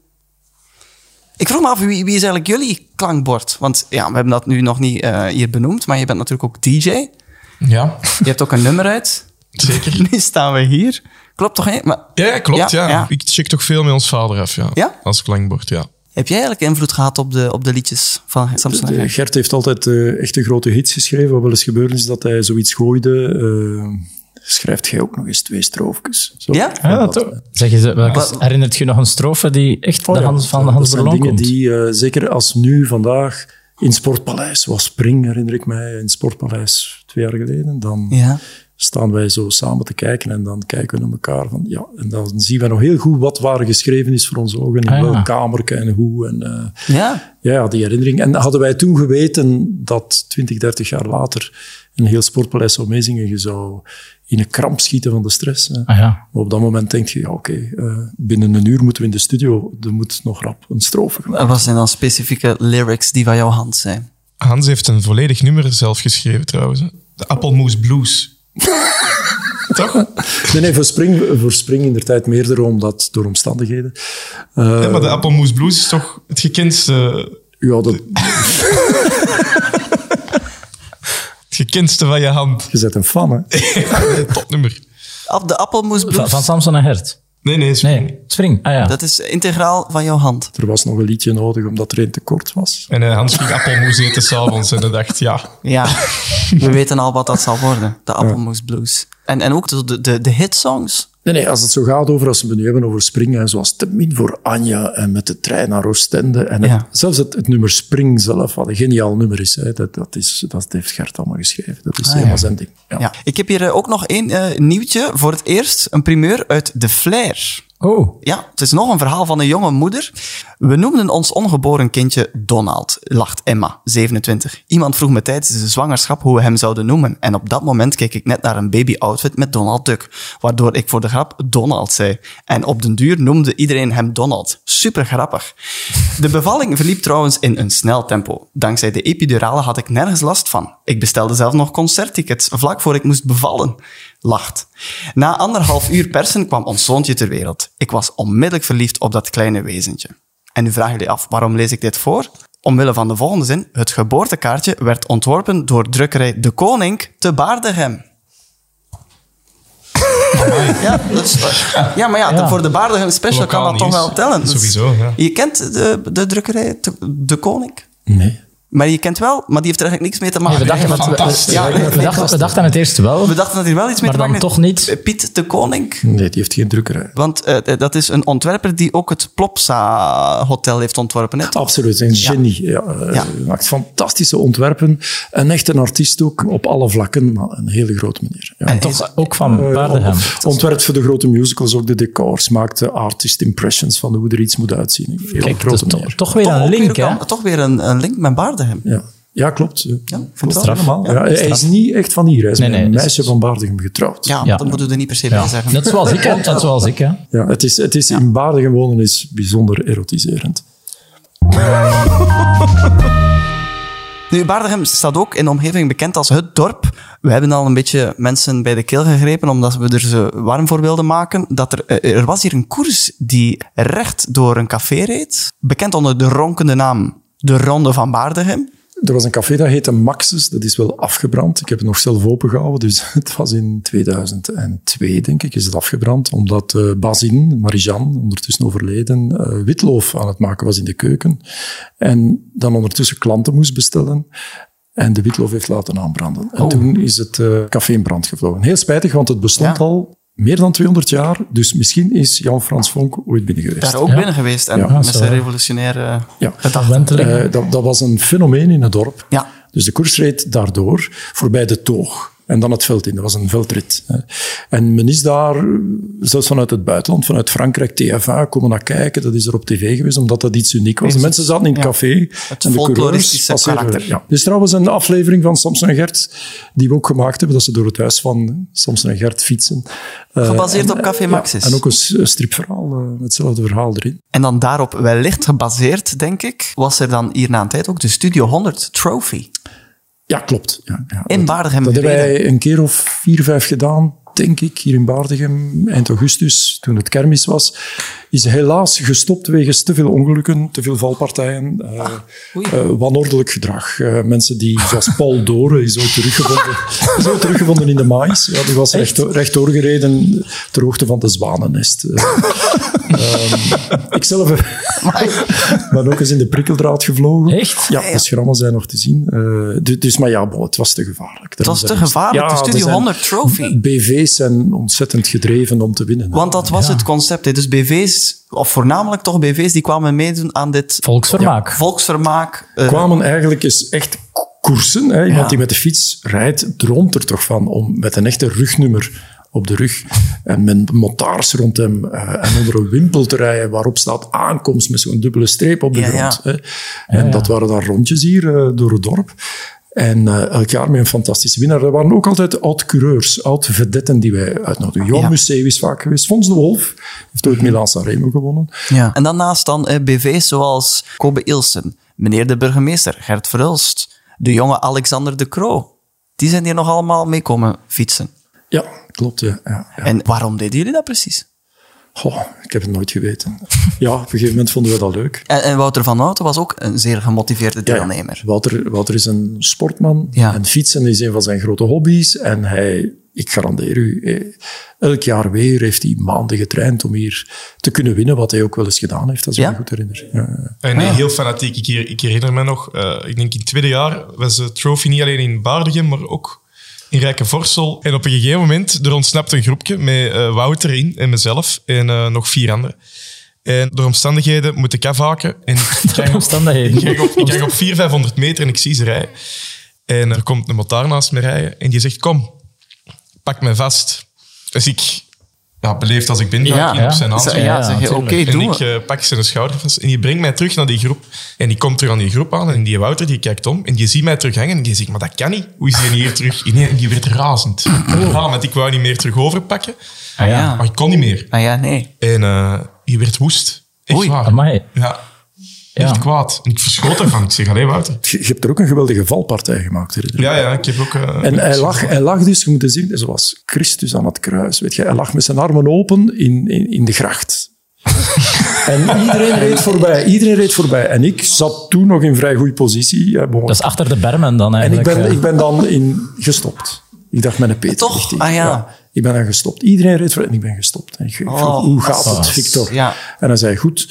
B: Ik vroeg me af, wie, wie is eigenlijk jullie klankbord? Want ja, we hebben dat nu nog niet eh, hier benoemd, maar je bent natuurlijk ook DJ. Je (laughs)
D: ja,
B: hebt ook een nummer uit.
D: zeker.
B: (laughs) Nu staan we hier. Klopt toch? Hè? Maar
D: Ja, ja, klopt.
B: Ja,
D: Ja,
B: ja.
D: Ik check toch veel met ons vader af, ja.
B: Ja?
D: Als klankbord, ja.
B: Heb jij eigenlijk invloed gehad op de, op de liedjes van
C: Ah,
B: Samson? en
E: De-
B: Gert?
E: Gert heeft altijd eh, echte grote hits geschreven. Wat wel eens gebeurd is dat hij zoiets gooide. eh, schrijft jij ook nog eens twee stroofjes? Zo.
B: Ja?
C: Ja, dat toch. Zeg je, welke,
B: Wat-
C: herinnert je nog een strofe die
D: Oh,
C: echt de
E: Ja,
C: Hans, van
E: dat
C: Hans
E: zijn
C: Berlon
E: dingen
C: komt?
E: die, eh, zeker als nu, vandaag, in Sportpaleis, was Spring, herinner ik mij, in Sportpaleis twee jaar geleden, dan
B: Ja.
E: staan wij zo samen te kijken en dan kijken we naar elkaar. Van, ja, en dan zien we nog heel goed wat waar geschreven is voor onze ogen, in
C: Ah, ja.
E: welk kamerke en hoe. En, eh,
B: ja.
E: ja, die herinnering. En hadden wij toen geweten dat 20, 30 jaar later een heel sportpaleis zou meezingen, je zou in een kramp schieten van de stress. hè.
C: Ah ja.
E: Maar op dat moment denk je, ja, oké, eh, binnen een uur moeten we in de studio. Er moet nog rap een strofe gemaakt
B: Wat zijn dan specifieke lyrics die van jouw hand zijn?
D: Hans heeft een volledig nummer zelf geschreven, trouwens. hè. De Appelmoes Blues. toch?
E: Nee, nee, voor Spring, voor spring in de tijd meerdere, omdat door omstandigheden. Eh,
D: Ja, maar de Appelmoes Blues is toch het gekendste,
E: ja, dat,
D: het gekendste van je hand.
E: je bent een fan, hè?
C: (laughs)
D: Topnummer.
B: Ab- De appelmoes
C: Van,
B: blues.
C: van Samson en Gert.
D: Nee, nee, is
C: Nee, Spring. Ah ja.
B: Dat is integraal van jouw hand.
E: Er was nog een liedje nodig, omdat er een tekort was.
D: En eh, Hans ging appelmoes eten s'avonds en hij dacht, ja,
B: (laughs) Ja. We weten al wat dat zal worden. De appelmoes blues. En, en ook de, de, de hitsongs.
E: Nee, nee, als het zo gaat over, als we het nu hebben over springen, en zoals te min voor Anja en met de trein naar Oostende. En het-
B: Ja.
E: zelfs het, het nummer Spring zelf, wat een geniaal nummer is, hè, dat, dat is, dat heeft Gert allemaal geschreven. Dat is helemaal zijn ding. Ja.
B: Ja. Ik heb hier eh, ook nog één eh, nieuwtje. Voor het eerst een primeur uit De Flair.
C: Oh,
B: Ja, het is nog een verhaal van een jonge moeder. We noemden ons ongeboren kindje Donald, lacht Emma, 27. Iemand vroeg me tijdens de zwangerschap hoe we hem zouden noemen. En op dat moment keek ik net naar een babyoutfit met Donald Duck, waardoor ik voor de grap Donald zei. En op den duur noemde iedereen hem Donald. Super grappig. De bevalling verliep trouwens in een snel tempo. Dankzij de epidurale had ik nergens last van. Ik bestelde zelf nog concerttickets vlak voor ik moest bevallen. Lacht. Na anderhalf uur persen kwam ons zoontje ter wereld. Ik was onmiddellijk verliefd op dat kleine wezentje. En nu vragen jullie af, waarom lees ik dit voor? Omwille van de volgende zin. Het geboortekaartje werd ontworpen door drukkerij De Koning te Baardegem. Ja, dat is- ja, maar ja, voor de Baardegem special
D: Lokaal
B: kan dat toch
D: nieuws.
B: wel tellen. Dus-
D: Sowieso, ja.
B: je kent de, de drukkerij Te- De Koning.
E: Nee.
B: Maar je kent wel, maar die heeft er eigenlijk niks mee te maken.
C: we dachten, dat we,
D: fantastisch.
B: Ah, Ja, nee,
C: we, dachten, we dachten aan het eerst wel.
B: we dachten dat hij er wel iets mee
C: Maar
B: te
C: dan
B: maken
C: toch niet.
B: Piet De Koning.
E: Nee, die heeft geen drukkerij.
B: Want eh, dat is een ontwerper die ook het Plopsa Hotel heeft ontworpen. Net.
E: Absoluut, een genie. Ja. eh,
B: Ja.
E: hij maakt fantastische ontwerpen. En echt een artiest ook, op alle vlakken, maar een hele grote meneer. Ja. Eh,
C: En toch ook van Paardenhem.
E: Ont- Ontwerpt voor de grote musicals, ook de decors, maakt de artist impressions van hoe er iets moet uitzien. Een hele
C: Kijk,
E: grote
C: to-
E: meneer.
C: toch weer
B: Toch
C: een
B: ook
C: link,
B: weer
C: hè?
B: een- Toch weer een, een link met Baardegem.
E: Ja. ja, klopt. Ja,
B: ik vind het wel.
E: Klopt.
C: Straf.
E: Ja, hij is niet echt van hier. Hij is
C: Nee,
E: met
C: nee,
E: een
C: dat
E: meisje
C: is-
E: van Baardegem getrouwd.
B: Ja,
C: Ja.
B: dat moeten we er niet per se bij
C: Ja.
B: zeggen.
C: Net
B: (laughs)
C: zoals ik, hè? Net zoals ik, hè?
E: Ja, het is, het is in Baardegem wonen is bijzonder erotiserend.
B: Nu, Baardegem staat ook in de omgeving bekend als het dorp. We hebben al een beetje mensen bij de keel gegrepen, omdat we er zo warm voor wilden maken. Dat er, eh, er was hier een koers die recht door een café reed, bekend onder de ronkende naam De Ronde van Baardegem.
E: Er was een café dat heette Maxus, dat is wel afgebrand. Ik heb het nog zelf opengehouden, dus (laughs) het was in 2002, denk ik, is het afgebrand. Omdat eh Bazin, Marie-Jeanne, ondertussen overleden, eh, witloof aan het maken was in de keuken. En dan ondertussen klanten moest bestellen. En de witloof heeft laten aanbranden.
B: Oh.
E: En toen is het eh, café in brand gevlogen. Heel spijtig, want het bestond
B: Ja.
E: al meer dan 200 jaar. Dus misschien is Jan-Frans Vonk ooit binnen geweest.
B: Daar ook binnen geweest en
E: Ja.
B: met
C: zo,
B: zijn
C: ja.
B: revolutionaire...
E: Ja.
C: Wenteling.
E: Eh, dat, dat was een fenomeen in het dorp.
B: Ja.
E: Dus de koers reed daardoor voorbij de toog. En dan het veld in. Dat was een veldrit. hè. En men is daar, eh, zelfs vanuit het buitenland, vanuit Frankrijk, TFA, komen naar kijken. Dat is er op tv geweest, omdat dat iets uniek was. De mensen zaten in het café. Het en de coureurs
B: folkloristische
E: passeerden.
B: karakter.
E: Ja. Dus trouwens een aflevering van Samson en Gert, die we ook gemaakt hebben, dat ze door het huis van Samson en Gert fietsen. Eh,
B: Gebaseerd
E: en-
B: op Café
E: ja,
B: Maxis.
E: en ook een s- een stripverhaal, eh, met hetzelfde verhaal erin.
B: En dan daarop wellicht gebaseerd, denk ik, was er dan hier na een tijd ook de Studio 100 Trophy.
E: Ja, klopt. Ja, ja.
B: In Baardegem
E: Dat hebben
B: gereden.
E: wij een keer of vier, vijf gedaan, denk ik, hier in Baardegem, eind augustus, toen het kermis was. Is helaas gestopt wegens te veel ongelukken, te veel valpartijen, eh, eh, wanordelijk gedrag. Eh, mensen die, zoals Paul Doren, is ook teruggevonden, is ook teruggevonden in de maïs. Ja, die was recht, rechtdoor gereden ter hoogte van de zwanennest. Eh, ehm, ikzelf (laughs) ben ook eens in de prikkeldraad gevlogen.
C: Echt?
E: Ja, de schrammen zijn nog te zien. Eh, du- dus, maar ja, bon, het was te gevaarlijk. Het
B: was te gevaarlijk, de Studio 100 trophy.
E: BV's zijn ontzettend gedreven om te winnen.
B: Want dat was het concept. hè. Dus BV's, of voornamelijk toch BV's, die kwamen meedoen aan dit
C: Volksvermaak.
B: volksvermaak. eh,
E: kwamen eigenlijk eens echt ko- koersen. Hè? Iemand die met de fiets rijdt, droomt er toch van om met een echte rugnummer op de rug en met motards rond hem eh, en onder een wimpel te rijden waarop staat aankomst met zo'n dubbele streep op de
B: Ja,
E: grond.
B: ja.
E: Hè? En dat waren daar rondjes hier eh, door het dorp. En eh, elk jaar met een fantastische winnaar. Er waren ook altijd oud-coureurs, oud-vedetten die wij uitnodigen. Johan Museeuw is vaak geweest. Fons de Wolf heeft
B: Mhm.
E: ooit Milan Sanremo gewonnen.
B: ja. En daarnaast dan eh, BV's zoals Kobe Ilsen, meneer de burgemeester, Gert Verhulst, de jonge Alexander de Croo. Die zijn hier nog allemaal mee komen fietsen.
E: Ja, klopt. Ja, ja, ja.
B: En waarom deden jullie dat precies?
E: Goh, ik heb het nooit geweten. (laughs) Ja, op een gegeven moment vonden we dat leuk.
B: En, en Eh, Wouter van Houten was ook een zeer gemotiveerde
E: Ja, ja.
B: deelnemer.
E: Wouter, Wouter is een sportman
B: Ja.
E: en fietsen is een van zijn grote hobby's. En hij, ik garandeer u, eh, elk jaar weer heeft hij maanden getraind om hier te kunnen winnen, wat hij ook wel eens gedaan heeft, als ik
B: Ja?
E: me goed herinner. Ja.
D: En eh, heel fanatiek. Ik, her- ik herinner me nog, eh, ik denk in het tweede jaar was de trophy niet alleen in Baardegem, maar ook in Rijkenvorsel. En op een gegeven moment, er ontsnapt een groepje met eh, Wouter in en mezelf en eh, nog vier anderen. En door omstandigheden moet ik afhaken. En ik krijg op, ik
C: omstandigheden.
D: krijg op, ik krijg op 400, 500 meter en ik zie ze rijden. En er komt een motar naast me rijden en die zegt, kom, pak me vast. Dus ik, ja, beleefd als ik ben, ga
B: Ja,
D: ik in op zijn hand.
B: Zeg-
C: Ja,
B: ja, zeg je, oké,
C: natuurlijk.
D: En
B: doen
D: ik
B: we.
D: eh, pak zijn schouder vast en die brengt mij terug naar die groep. En die komt terug aan die groep aan en die Wouter die kijkt om en die ziet mij terug hangen en die zegt, maar dat kan niet. Hoe is die hier terug? En die- die werd razend.
B: Oh.
D: Ja, want ik wou niet meer terug overpakken,
C: Ah, (laughs) ja.
D: maar ik kon niet meer.
B: Ah ja, nee.
D: En eh je werd woest. Echt
B: Oei,
D: waar.
C: Amai.
D: Ja,
C: Ja.
D: echt kwaad. En ik verschoot ervan. Ik zeg, allee Wouter.
E: Je, je hebt er ook een geweldige valpartij gemaakt. Hè?
D: Ja, ja, ik heb ook... eh,
E: En hij lag, hij lag dus, je moet het zien, zoals Christus aan het kruis. Weet je, hij lag met zijn armen open in, in, in de
C: (laughs)
E: gracht. en iedereen reed voorbij, iedereen reed voorbij. En ik zat toen nog in vrij goede positie. eh, bon.
C: Dat is achter de bermen dan
E: en ik
C: eigenlijk.
E: ben,
C: eh.
E: ik ben dan in, gestopt. Ik dacht, mijn Peter
B: Toch?
E: ligt hier.
B: Ah, ja.
E: Ik ben dan gestopt. Iedereen reed voorbij en ik ben gestopt. En ik vroeg,
B: Oh,
E: hoe gaat het,
B: dat is-
E: Victor?
B: ja.
E: En hij zei, goed.
B: (laughs)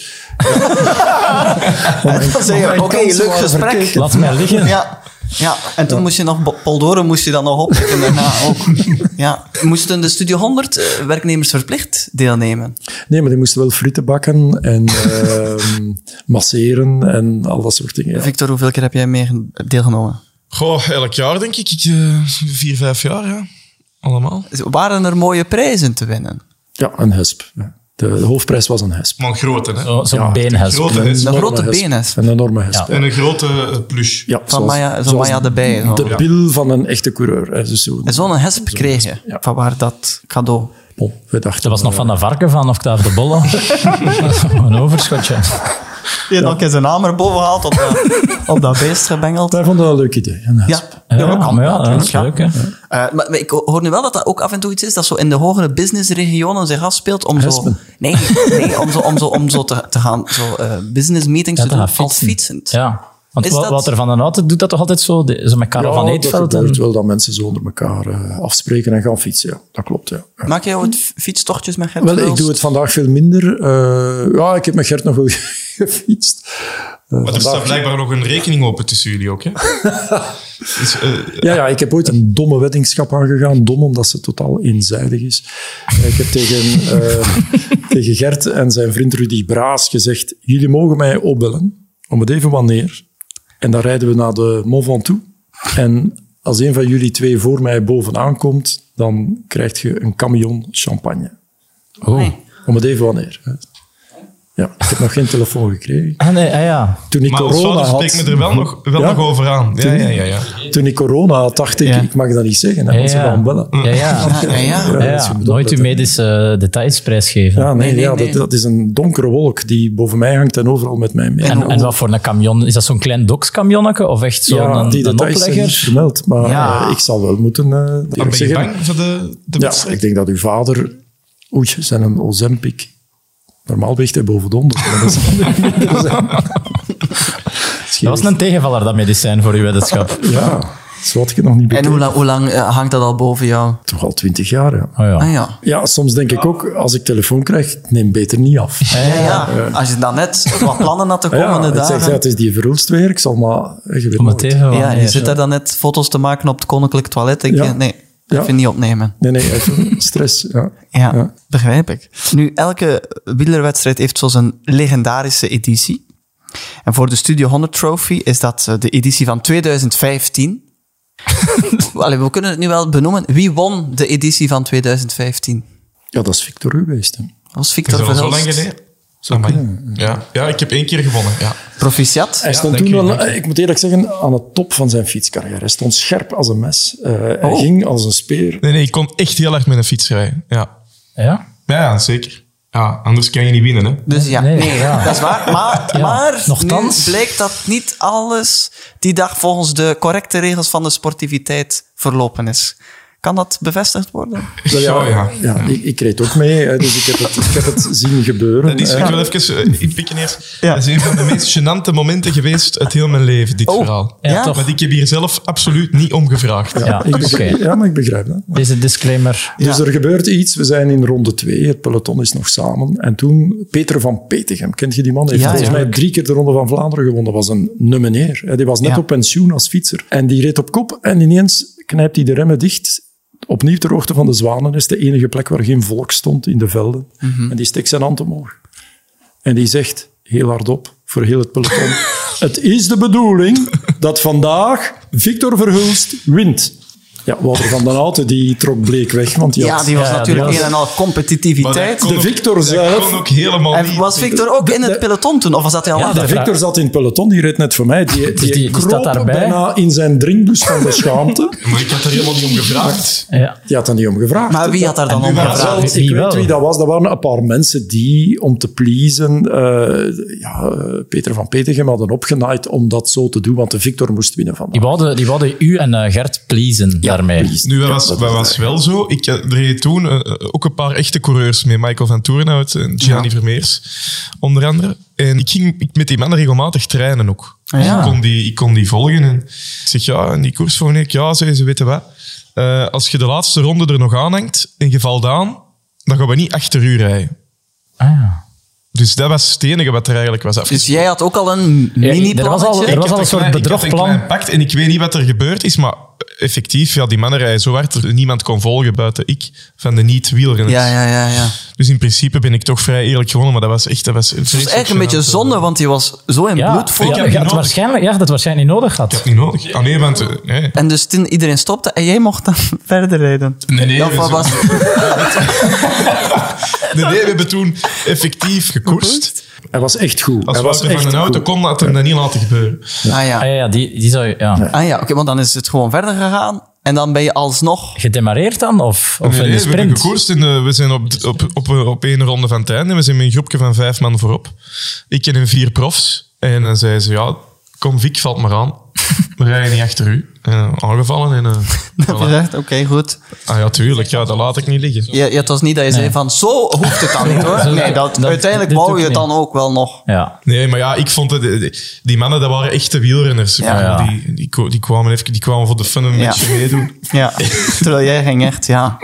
B: Dan zeg je, Oké, leuk gesprek.
C: Laat mij liggen.
B: Ja. Ja, en toen moest je nog, Bo- Poldoren moest je dan nog op en daarna ook. (laughs) Ja. Moesten de Studio 100 eh, werknemers verplicht deelnemen?
E: Nee, maar die moesten wel frieten bakken en (laughs) ehm, masseren en al dat soort dingen. ja.
B: Victor, hoeveel keer heb jij mee deelgenomen?
D: Goh, elk jaar denk ik. ik eh, vier, vijf jaar, ja. Allemaal.
B: Waren er mooie prijzen te winnen?
E: Ja, een hesp. De, de hoofdprijs was een hesp.
D: Maar een grote,
E: Oh,
D: hè.
C: Zo- Zo'n beenhesp.
D: Grote
E: Een
D: hesp.
B: grote
E: enorme hesp.
B: beenhesp.
E: Een enorme hesp.
C: Ja.
E: Ja.
D: En een grote eh, plush.
E: zoals-
B: Maya- zo'n
E: zoals
B: Maya de Bij, zo.
E: De
B: Ja.
E: bil van een echte coureur. Hè. Dus zo,
B: En zo'n hesp kreeg je,
E: ja.
B: van waar dat cadeau.
E: Bon, we dachten,
C: Dat was nog
E: eh,
C: van de varken van Octave de
B: (laughs)
C: Bolle. (laughs) een overschotje.
B: Je hebt nog eens een hamer boven gehaald, op, (laughs) dat- op dat beest gebengeld.
E: Wij vonden dat een leuk idee. Een hesp.
B: Ja,
C: Ja,
B: dat
C: maar ja, dat is
B: Ja.
C: leuk. Hè.
B: Eh, maar ik hoor nu wel dat dat ook af en toe iets is dat zo in de hogere businessregionen zich afspeelt om zo,
E: Hespen.
B: nee, nee, om zo, om zo, om zo te, te gaan, zo eh, business meetings
C: Ja,
B: te
C: te
B: doen
C: gaan
B: als
C: fietsen.
B: fietsend.
C: Ja. Want
B: Is
C: Wa-
B: dat-
C: Wouter van den Houten doet dat toch altijd zo? De- Zo met Karel van
E: Ja, dat
C: Eetveld.
E: gebeurt
C: en-
E: wel dat mensen zo onder elkaar eh, afspreken en gaan fietsen. Ja, dat klopt, ja. Ja.
B: Maak jij ooit f- fietstochtjes met Gert
E: Wel, ik
B: Verhulst?
E: doe het vandaag veel minder. Eh, ja, ik heb met Gert nog wel (laughs) gefietst. Eh,
D: Maar er
E: vandaag-
D: staat blijkbaar nog een rekening open tussen jullie
E: (laughs)
D: ook, hè? dus, eh,
E: Ja, ja, ik heb ooit een domme weddingschap aangegaan. Dom omdat ze totaal eenzijdig is. Ik heb tegen, eh, (laughs) tegen Gert en zijn vriend Rudy Braas gezegd: Jullie mogen mij opbellen, om het even wanneer. En dan rijden we naar de Mont Ventoux. En als een van jullie twee voor mij bovenaan komt, dan krijg je een camion champagne.
C: Oh.
E: Om het even wanneer. hè. Ja, ik heb nog geen telefoon gekregen.
C: Ah, nee, ah, ja.
E: Toen ik
D: maar ons
E: corona
D: vader
E: had.
D: spreekt me er wel nog, wel
E: Ja?
D: nog over aan. Ja, ja, ja, ja.
E: Toen ik corona had, dacht ik:
B: Ja.
E: Ik mag dat niet zeggen. Dan
C: Ja,
E: moet ze
C: ja.
E: gaan bellen.
C: Ja, ja.
B: Ja, ja.
C: Ja,
E: dus je
C: ja.
E: moet
C: Nooit uw
E: opletten.
C: medische eh, details prijsgeven.
E: Ja, nee,
B: nee,
E: ja,
B: nee.
E: Dat, dat is een donkere wolk die boven mij hangt en overal met mij mee.
C: En, en wat voor een camion? Is dat zo'n klein dokscamionnetje of echt zo'n
E: ja,
C: een-
E: die
C: een
E: details zijn niet
C: oplegger?
E: vermeld, maar
B: Ja.
E: eh, ik zal wel moeten eh, dat
D: Dan
E: ik
D: ben je
E: zeggen.
D: bang voor de, de
E: Ja,
D: wedstrijd?
E: ik denk dat uw vader... Oei, zijn een Ozempic. Normaal weegt hij boven de honderd, maar (laughs) dat zal er minder zijn.
C: Dat was een tegenvaller, dat medicijn voor uw weddenschap.
E: Ja, zo had ik het nog niet
B: En
E: bekeken.
B: hoe lang, hoe lang eh, hangt dat al boven jou?
E: Toch al twintig jaar, ja.
C: Oh, ja.
B: Ah ja.
E: Ja, soms denk ik ook, als ik telefoon krijg, neem beter niet af.
B: Ja, ja. als je dan net wat plannen had de
E: Ja,
B: komende
E: het zegt, ja,
B: dagen.
E: het is die verhulst weer, ik zal maar... eh, je weet
C: Om het
E: nooit.
C: tegen
B: Ja, je zit daar dan net foto's te maken op het koninklijk toilet. Ik,
E: Ja.
B: eh, Nee, dat
E: Ja.
B: vind ik niet opnemen.
E: Nee, nee, even (laughs) stress. Ja.
B: Ja, begrijp ik. Nu, elke wielerwedstrijd heeft zo zijn legendarische editie. En voor de Studio 100 Trophy is dat eh, de editie van 2015. Allee, we kunnen het nu wel benoemen. Wie won de editie van 2015?
E: Ja, dat is Victor U geweest. hè.
B: Dat was
D: Is
B: Victor
D: dat al zo lang
B: Verhulst.
D: geleden? Amai. Ja. ja, ik heb één keer gewonnen. Ja.
B: Proficiat.
E: Hij stond
D: dank
E: toen
D: u,
E: wel, eh,
D: dank u.
E: ik moet eerlijk zeggen, aan het top van zijn fietscarrière. Hij stond scherp als een mes. Eh, Hij
D: Oh.
E: ging als een speer.
D: Nee, nee, ik kon echt heel hard met een fiets rijden. Ja,
C: Ja?
D: ja, ja, zeker. Ja, anders kan je niet winnen, hè?
B: Dus ja,
C: Nee,
B: nee,
C: ja.
B: dat is waar. Maar,
C: Ja,
B: maar
C: nochtans.
B: nu bleek dat niet alles die dag volgens de correcte regels van de sportiviteit verlopen is. Kan dat bevestigd worden?
E: Wel
D: Zo, Oh, ja.
E: ja, Ik, ik reed ook mee, hè, dus ik heb het, ik heb het (laughs) zien gebeuren.
D: Dat is,
E: Eh,
D: ik wil even eh, inpikken eerst. Dat is een van de meest gênante momenten geweest uit heel mijn leven, dit verhaal.
C: ja, toch.
D: Want ik heb hier zelf absoluut niet om gevraagd.
C: Ja,
E: ik
C: oké.
E: begrijp- ja, maar ik begrijp dat.
C: Deze disclaimer.
E: Dus er gebeurt iets. We zijn in ronde twee. Het peloton is nog samen. En toen Peter van Petegem. Kent je die man? Hij heeft
B: Ja,
E: volgens
B: ja.
E: mij drie keer de Ronde van Vlaanderen gewonnen. was een nummeneer. Hè, Die was net
B: Ja.
E: op pensioen als fietser. En die reed op kop. En ineens knijpt hij de remmen dicht. Opnieuw ter hoogte van de Zwanen is de enige plek waar geen volk stond in de velden. En die steekt zijn hand omhoog. En die zegt heel hardop voor heel het peloton: Het is de bedoeling dat vandaag Victor Verhulst wint. Ja, Wouter van den Houten die trok bleek weg, want die
B: Ja,
E: had-
B: die was
C: Ja, die
B: natuurlijk
C: was-
B: een en al
D: Maar dat
B: competitiviteit.
D: kon
E: de
D: ook-
E: Victor
D: dat
E: zelf-
D: kon ook helemaal
B: En
D: niet.
B: was Victor ook in het peloton toen? Of was dat hij al
C: Ja,
B: af?
C: dat-
E: de Victor zat in het peloton, die reed net voor mij. Die, die,
C: die- die
E: kroop
C: staat daarbij.
E: bijna in zijn drinkbus van de schaamte.
D: Maar ik had er helemaal niet om gevraagd.
C: Ja.
E: Die had er niet om gevraagd.
B: Maar wie had daar dan
D: En
B: om
D: nu was
B: gevraagd?
E: Wel,
C: wie-
E: ik
C: Ah, wie
E: weet
C: wel?
E: wie dat was. Dat waren een paar mensen die, om te pleasen, eh, ja, eh, Peter van Petegem hadden opgenaaid om dat zo te doen, want de Victor moest winnen van
C: Die wouden, die wouden u en eh, Gert pleasen daarmee.
D: Nu, dat was, dat was wel zo. Ik eh, er reed toen eh, ook een paar echte coureurs mee. Michael van Toornhout en Gianni Vermeers, onder andere. En ik ging ik- met die mannen regelmatig trainen ook. Dus
B: ja.
D: ik, kon die, ik kon die volgen. En ik zeg, ja, en die koers volgende week, ja, zei ze weten wat. Eh, als je de laatste ronde er nog aanhangt en je valt aan, dan gaan we niet achter u rijden.
C: Ah, ja.
D: Dus dat was het enige wat er eigenlijk was afgesproken.
B: Dus jij had ook al een
C: Ja,
B: mini-plannetje?
C: er was al- er
D: Ik
C: was
D: had
C: al een
D: klein-
C: soort
D: Ik had een
C: bedrogplan.
D: klein pact en ik weet niet wat er gebeurd is, maar effectief, ja, die mannen rijden zo hard dat niemand kon volgen buiten ik van de niet-wielrenners.
B: Ja, ja, ja, ja.
D: Dus in principe ben ik toch vrij eerlijk gewonnen, maar dat was echt... Dat was,
B: Het was eigenlijk een beetje zonde, want die was zo in
C: Ja,
B: bloed voor.
D: Ik
C: ja,
D: heb
C: je
D: die
C: had
D: nodig.
C: waarschijnlijk, ja, dat waarschijnlijk niet nodig had.
D: Niet nodig. Ah nee, want... eh, Nee,
B: En dus toen iedereen stopte en jij mocht dan (laughs) verder rijden.
D: nee, nee,
B: Of
D: we,
B: wat was,
D: nee, nee, we hebben toen effectief gekoerst.
E: Hij was echt goed.
D: Als
E: hij was
D: Wouter
E: echt
D: van een auto
E: goed.
D: kon, had hem dat niet laten gebeuren.
B: ah
C: Ah,
B: ja,
C: ja, ja, die, die zou je... Ja.
B: ah, ja oké, want dan is het gewoon verder gegaan. En dan ben je alsnog...
C: Gedemareerd dan? Of, of
D: Nee,
C: in de
D: nee, we hebben
C: sprint?
D: gekoerst en eh, we zijn op, op, op, op één ronde van het einde. We zijn met een groepje van vijf man voorop. Ik ken een vier profs. En dan zei ze, ja, kom Vic, valt maar aan. We rijden niet achter u. Eh, aangevallen en...
C: (laughs)
D: eh,
B: Heb je
D: voilà.
B: gezegd, oké, goed.
D: Ah ja, tuurlijk. Ja, dat laat ik niet liggen.
B: Ja, ja, het was niet dat je zei van, zo hoeft het dan niet hoor.
C: (laughs) Zo-
B: Nee, dat,
C: dat-
B: uiteindelijk
C: dit
B: wou
C: doe
B: je
C: ik
B: het dan ook wel nog.
C: Ja.
D: Nee, maar ja, ik vond het... eh, Die, die mannen, dat waren echte wielrenners. Ik
B: Ja,
D: bedoel,
C: ja.
D: Die, die, ko- die kwamen even, die kwamen voor de fun een
B: Ja.
D: beetje meedoen. (laughs)
B: Ja, terwijl jij ging echt, ja.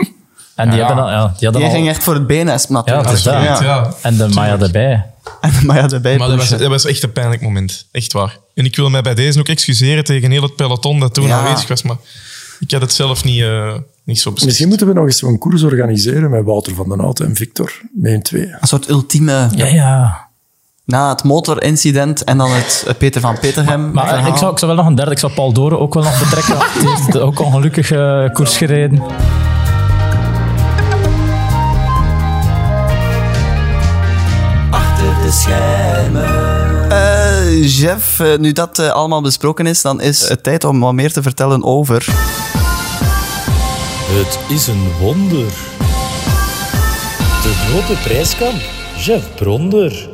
C: En die hadden al... Ja, die hadden
B: Jij
C: al
B: ging echt voor het BNS
C: ja,
B: natuurlijk.
C: het
B: (laughs)
C: is dat.
D: Absoluut, ja.
C: En de Maya erbij.
B: Maar ja, daarbij
D: Maar dat was,
B: pushen.
D: dat was echt een pijnlijk moment. Echt waar. En ik wil mij bij deze ook excuseren tegen heel het peloton dat toen
B: Ja.
D: aanwezig was. Maar ik had het zelf niet, eh, niet zo beslist.
E: Misschien moeten we nog eens zo'n koers organiseren met Wouter van den Houten en Victor. Met hun tweeën.
B: Een soort ultieme...
C: Ja, ja.
B: Na het motorincident en dan het eh, Peter van Peterhem.
C: Maar eh,
B: verhaal.
C: ik zou, ik zou wel nog een derde, ik zou Paul Doren ook wel nog betrekken. want Die heeft ook ongelukkig eh, koers gereden.
B: Eh, Jeff, eh, nu dat eh, allemaal besproken is, dan is het tijd om wat meer te vertellen over.
G: Het is een wonder. De grote prijskamp. Jeff Bronder.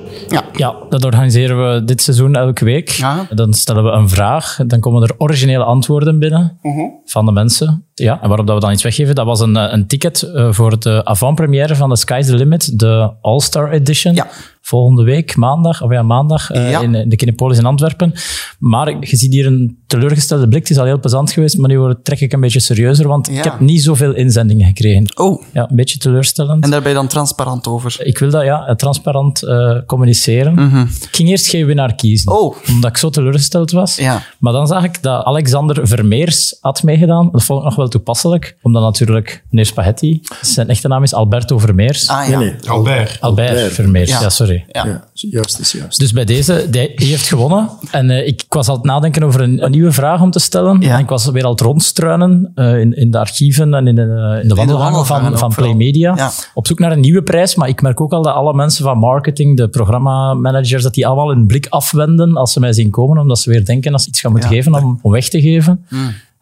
C: Ja, dat organiseren we dit seizoen elke week.
B: Ja.
C: Dan stellen we een vraag, dan komen er originele antwoorden binnen
B: Mhm.
C: van de mensen. Ja, en waarop dat we dan iets weggeven, dat was een, eh, een ticket eh, voor de avant-première van de Sky's the Limit, de All-Star Edition.
B: Ja.
C: Volgende week, maandag, of ja, maandag, eh,
B: Ja.
C: in eh, de Kinepolis in Antwerpen. Maar ik- je ziet hier een teleurgestelde blik. Het is al heel plezant geweest, maar nu word- trek ik een beetje serieuzer, want
B: Ja.
C: ik heb niet zoveel inzendingen gekregen.
B: Oh,
C: Ja, een beetje teleurstellend.
B: en daar ben je dan transparant over.
C: Ik wil dat ja, transparant eh, communiceren. Ik ging eerst geen winnaar kiezen,
B: Mhm. Oh.
C: omdat ik zo teleurgesteld was.
B: Ja.
C: Maar dan zag ik dat Alexander Vermeers had meegedaan. Dat vond ik nog wel toepasselijk, omdat natuurlijk meneer Spaghetti, zijn echte naam is Alberto Vermeers.
B: Ah ja.
E: Nee, nee.
D: Albert.
C: Albert,
E: Albert.
C: Vermeers,
B: Ja.
C: ja, sorry.
B: Ja.
E: Ja, juist is juist.
C: Dus bij deze, die, die heeft gewonnen. En eh, ik, ik was al het nadenken over een, een nieuwe vraag om te stellen.
B: Ja.
C: En ik was weer al het rondstruinen eh, in, in de archieven en in, eh, in de wandelgangen
B: wandelgangen
C: van,
B: ook
C: van
B: vooral.
C: Play Media.
B: Ja.
C: Op zoek naar een nieuwe prijs. Maar ik merk ook al dat alle mensen van marketing, de programmamanagers, dat die allemaal hun blik afwenden als ze mij zien komen. Omdat ze weer denken dat ze iets gaan moeten
B: Ja. Mm.
C: geven om, om weg te geven.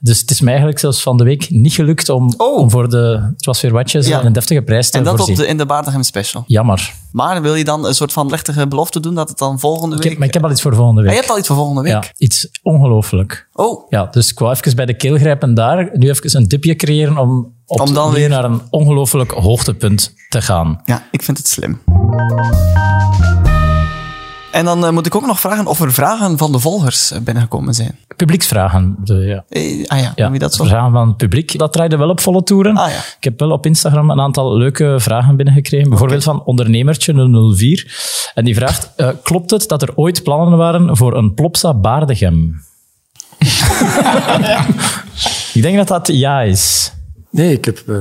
C: Dus het is mij eigenlijk zelfs van de week niet gelukt om,
B: Oh.
C: om voor de Het was weer watjes
B: Ja.
C: een deftige prijs te
B: En dat op
C: voorzien.
B: de, in de Baardegem Special.
C: Jammer.
B: Maar wil je dan een soort van plechtige belofte doen dat het dan volgende
C: Ik
B: week...
C: heb, maar ik heb al iets voor volgende
B: Ah,
C: week.
B: je hebt al iets voor volgende week.
C: Ja, iets ongelooflijk.
B: Oh,
C: Ja, dus ik wou even bij de keel grijpen daar. Nu even een dipje creëren om,
B: Om dan
C: opnieuw
B: weer-
C: naar een ongelooflijk hoogtepunt te gaan.
B: ja, ik vind het slim. En dan eh, moet ik ook nog vragen of er vragen van de volgers eh, binnengekomen zijn.
C: Publieksvragen. bedoel je, ja.
B: Eh, ah ja,
C: Ja,
B: noem je dat zo?
C: vragen van het publiek. Dat draaide wel op volle toeren.
B: Ah, ja.
C: Ik heb wel op Instagram een aantal leuke vragen binnengekregen. Bijvoorbeeld van ondernemertje 004. En die vraagt, eh, klopt het dat er ooit plannen waren voor een Plopsa Baardegem? (laughs) Ik denk dat dat ja is.
E: Nee, ik heb eh,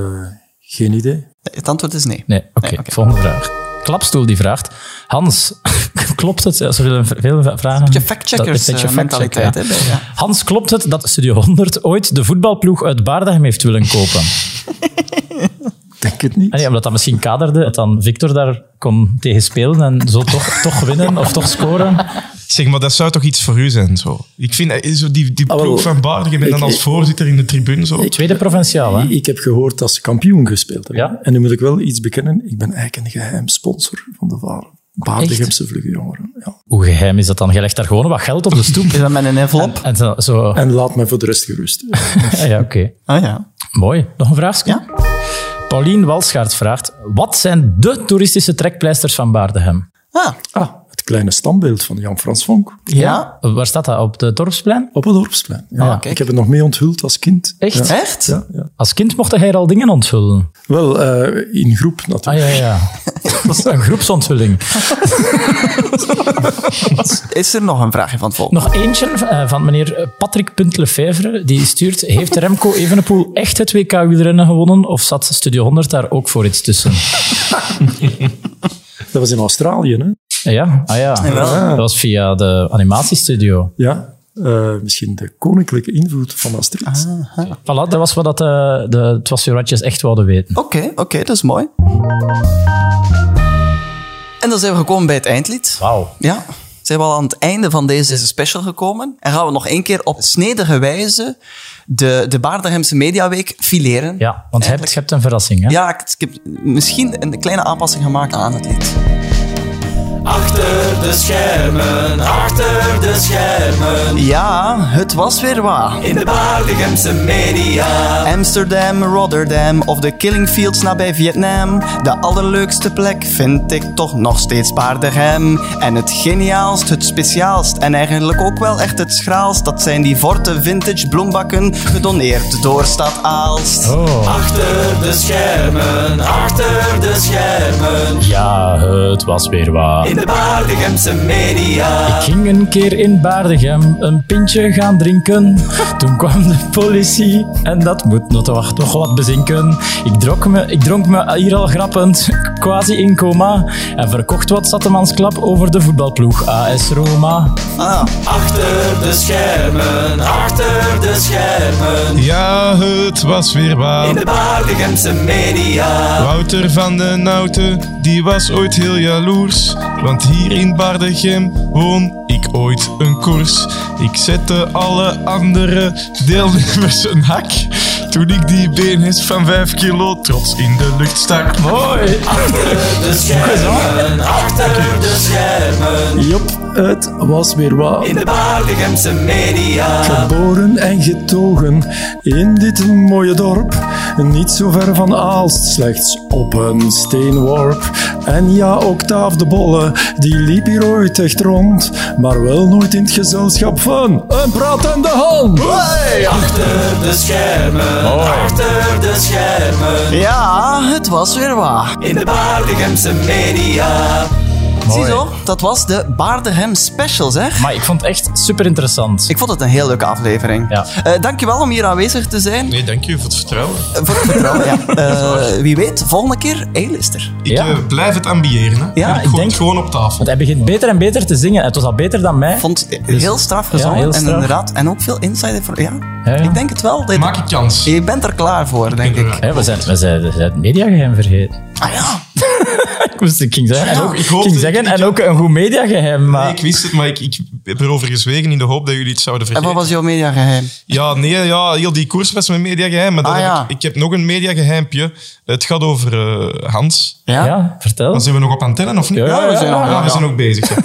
E: geen idee.
B: Het antwoord is nee.
C: Nee, oké.
B: Nee, oké.
C: Volgende vraag. Klapstoel die vraagt, Hans, (laughs) klopt het? Ja, Ze willen veel vragen.
B: Beetje factcheckers
C: Dat- beetje
B: eh,
C: factchecken,
B: mentaliteit.
C: ja.
B: hè, bij- ja.
C: Hans, klopt het dat Studio 100 ooit de voetbalploeg uit Baardegem heeft willen kopen?
E: Denk het niet.
C: Ah, nee, omdat dat misschien kaderde, dat dan Victor daar kon tegen spelen en zo toch, (laughs) toch winnen of toch scoren.
D: Zeg maar, dat zou toch iets voor u zijn? Zo. Ik vind eh, zo die, die
E: Ah, wel,
D: ploeg van Baardegem en
E: ik-
D: dan als
E: ik-
D: voorzitter in de tribune. Zo.
C: Tweede provinciaal, hè?
E: Ik heb gehoord dat ze kampioen gespeeld hebben.
C: Ja.
E: En nu moet ik wel iets bekennen. Ik ben eigenlijk een geheim sponsor van de Varen. Baardegemse vlugge jongeren. Ja.
C: Hoe geheim is dat dan? Je legt daar gewoon wat geld op de stoep.
B: Is dat met een envelop?
C: En zo.
B: (laughs)
C: zo-
E: En laat mij voor de rest
C: (laughs)
E: gerust.
C: Ja, ja, oké.
B: Ah ja.
C: Mooi. Nog een vraagje? Paulien Walsgaard vraagt: Wat zijn de toeristische trekpleisters van Baardegem?
B: Ah,
E: ah, het kleine standbeeld van Jan-Frans Vonk
B: ja.
C: Waar staat dat? Op de dorpsplein?
E: op het dorpsplein. Ja,
B: kijk.
E: ik heb het nog mee onthuld als kind.
C: Ah, Echt?
E: Ja.
B: Echt?
E: Ja, ja.
C: Als kind mocht hij er al dingen onthullen.
E: Wel, eh, in groep natuurlijk.
C: Ah ja, ja. Dat is een groepsonthulling.
B: Is er nog een vraagje van het volk?
C: Nog eentje eh, van meneer Patrick Lefevre. Die stuurt: Heeft Remco Evenepoel echt het WK wielrennen gewonnen? Of zat Studio 100 daar ook voor iets tussen?
E: Dat was in Australië, hè?
C: Eh, Ja, ah ja.
B: Jawel.
C: Dat was via de animatiestudio.
E: Ja. Eh, misschien de koninklijke invloed van Maastricht.
C: Ah. Voilà, dat was wat dat, eh, de Het Was Weer Watjes echt wilden weten.
B: Oké, oké, dat is mooi. En dan zijn we gekomen bij het eindlied.
C: Wauw.
B: Ja, zijn we al aan het einde van deze special gekomen. En gaan we nog één keer op snedige wijze de, de Baardegemse Mediaweek fileren.
C: Ja, want je hebt, je hebt een verrassing. Hè?
B: Ja, ik, ik heb misschien een kleine aanpassing gemaakt aan het lied.
H: Achter de schermen, achter de schermen.
B: Ja, het was weer waar.
H: In de Baardegemse media.
B: Amsterdam, Rotterdam of de Killing Fields nabij Vietnam. De allerleukste plek vind ik toch nog steeds Paardegem. En het geniaalst, het speciaalst en eigenlijk ook wel echt het schraalst, dat zijn die Forte Vintage bloembakken gedoneerd door Stad Aalst.
C: Oh.
H: Achter de schermen, achter de schermen.
C: Ja, het was weer waar.
H: In de Baardegemse media.
C: Ging een keer in Baardegem een pintje gaan drinken. Toen kwam de politie en dat moet nog, toch- nog wat bezinken. Ik dronk, me, ik dronk me hier al grappend, quasi in coma. En verkocht wat zattemansklap over de voetbalploeg AS Roma.
B: Ah,
H: Achter de schermen, achter de schermen.
D: Ja, het was weer waar.
H: In de Baardegemse media.
D: Wouter van den Houten, die was ooit heel jaloers. Want hier in Baardegem won ik ooit een koers. Ik zette alle andere deelnemers een hak. Toen ik die beenhest van 5 kilo trots in de lucht stak. Mooi!
H: De schermen, achter de schermen.
E: Jop, het was weer waar.
H: In de Baardegemse media.
E: Geboren en getogen in dit mooie dorp. Niet zo ver van Aalst, slechts op een steenworp. En ja, Octaaf de Bolle, die liep hier ooit echt rond. Maar wel nooit in het gezelschap van een pratende hand.
H: Achter de schermen, achter de schermen.
B: ja, Ah, het was weer waar.
H: In de Baardegemse media.
B: Ziezo, dat was de Baardegem Special, zeg.
C: Maar ik vond het echt super interessant.
B: Ik vond het een heel leuke aflevering.
C: Ja.
B: Eh, dankjewel om hier aanwezig te zijn.
D: Nee, dank je voor het vertrouwen.
B: Eh, Voor het vertrouwen, (laughs) ja. Eh, wie weet, volgende keer A-lister.
D: Ik
C: Ja.
D: eh, blijf het ambiëren. Hè.
B: Ja, ik
D: ik gooi
C: denk-
D: het gewoon op tafel.
C: Want hij begint beter en beter te zingen. Het was al beter dan mij.
B: vond het heel straf gezongen.
C: Ja, heel
B: En
C: straf.
B: inderdaad, en ook veel insight. voor- Ja,
C: Ja, ja.
B: ik denk het wel. Dit-
D: Maak ik kans.
B: Je bent er klaar voor, denk ik.
C: Hè, we zijn, we zijn, we zijn het mediageheim vergeten.
B: Ah ja,
C: Ik moest- ik ging zeggen, en ook,
D: ik hoopte-
C: ging zeggen, en ook een goed mediageheim. Maar...
D: Nee, ik wist het, maar ik, ik heb erover gezwegen in de hoop dat jullie het zouden
B: En
D: vergeten.
B: wat was jouw mediageheim?
D: Ja, nee, ja, heel die koers was mijn mediageheim. Maar dan
B: Ah,
D: heb
B: ja.
D: ik, ik heb nog een mediageheimpje. Het gaat over eh, Hans.
B: Ja?
C: Ja, vertel.
D: Dan zijn we nog op antenne, of niet?
C: Ja,
B: we zijn nog-
D: Ja, we zijn nog bezig. ja.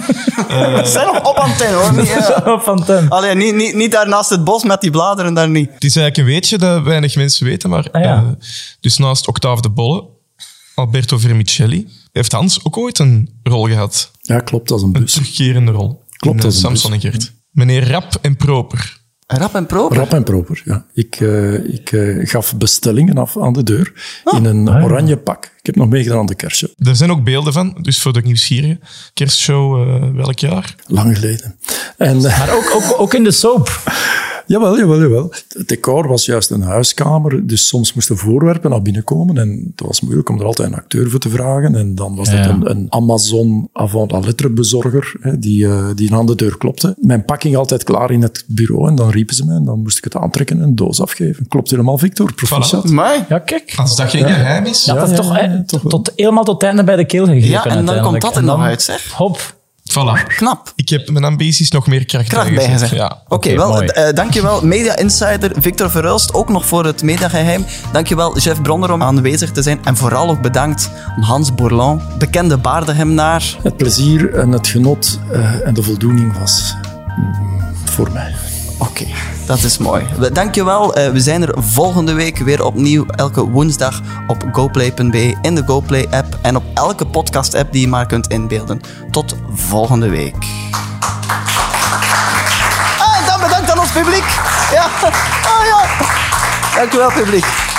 B: We Eh. zijn nog op antenne, hoor. (laughs) Niet, eh,
C: Van Ten.
B: Allee, niet, niet, niet daarnaast het bos met die bladeren daar niet.
D: Het is eigenlijk een weetje dat weinig mensen weten, maar...
C: Ah, ja.
D: eh, dus naast Octave de Bolle, Alberto Vermicelli, heeft Hans ook ooit een rol gehad.
E: Ja, klopt, als een
D: Een
E: bus.
D: terugkerende rol.
E: Klopt,
D: In, eh,
E: dat is een
D: Samson en
E: bus.
D: Gert. Meneer Rap en Proper.
B: Rap en proper.
E: (laughs) Rap en proper, ja. Ik, eh, ik eh, gaf bestellingen af aan de deur in een oranje pak. Ik heb nog meegedaan aan de kerstshow.
D: Er zijn ook beelden van, dus voor de nieuwsgierigen. Kerstshow eh, welk jaar?
E: Lang geleden. En, eh,
C: Maar ook, ook, ook in de soap.
E: Jawel, jawel, jawel. Het decor was juist een huiskamer, dus soms moesten voorwerpen naar binnen komen. En het was moeilijk om er altijd een acteur voor te vragen. En dan was dat een, een Amazon avant la lettre bezorger, hè, die, eh, die aan de deur klopte. Mijn pakking altijd klaar in het bureau en dan riepen ze mij en dan moest ik het aantrekken en een doos afgeven. Klopt helemaal, Victor. Proficiat.
B: Amai.
C: Ja, kijk.
D: Als dat geen geheim is.
C: Dat
E: Ja,
C: is
E: ja,
C: toch,
E: ja,
C: eh,
E: toch wel.
C: tot, helemaal tot het einde bij de keel gegrepen.
B: Ja, en dan
C: uiteindelijk.
B: komt dat er
C: En
B: nog
C: dan-
B: uit, zeg.
C: Hop.
D: Voilà.
B: Knap.
D: Ik heb mijn ambities nog meer kracht,
B: Kracht bijgezet.
D: Ja.
B: Oké,
C: Oké,
B: wel,
C: mooi.
B: eh dankjewel Media Insider Victor Verhulst, ook nog voor het mediageheim. Dankjewel Jeff Bronner om aanwezig te zijn. En vooral ook bedankt aan Hans Bourlon, bekende baardegemnaar.
E: Het plezier en het genot eh, en de voldoening was mm, voor mij.
B: Oké, dat is mooi. We- Dankjewel. Eh we zijn er volgende week weer opnieuw. Elke woensdag op goplay.be, in de GoPlay-app en op elke podcast-app die je maar kunt inbeelden. Tot volgende week. Ah, en dan bedankt aan ons publiek. Ja. Ah, ja. Dankjewel, publiek.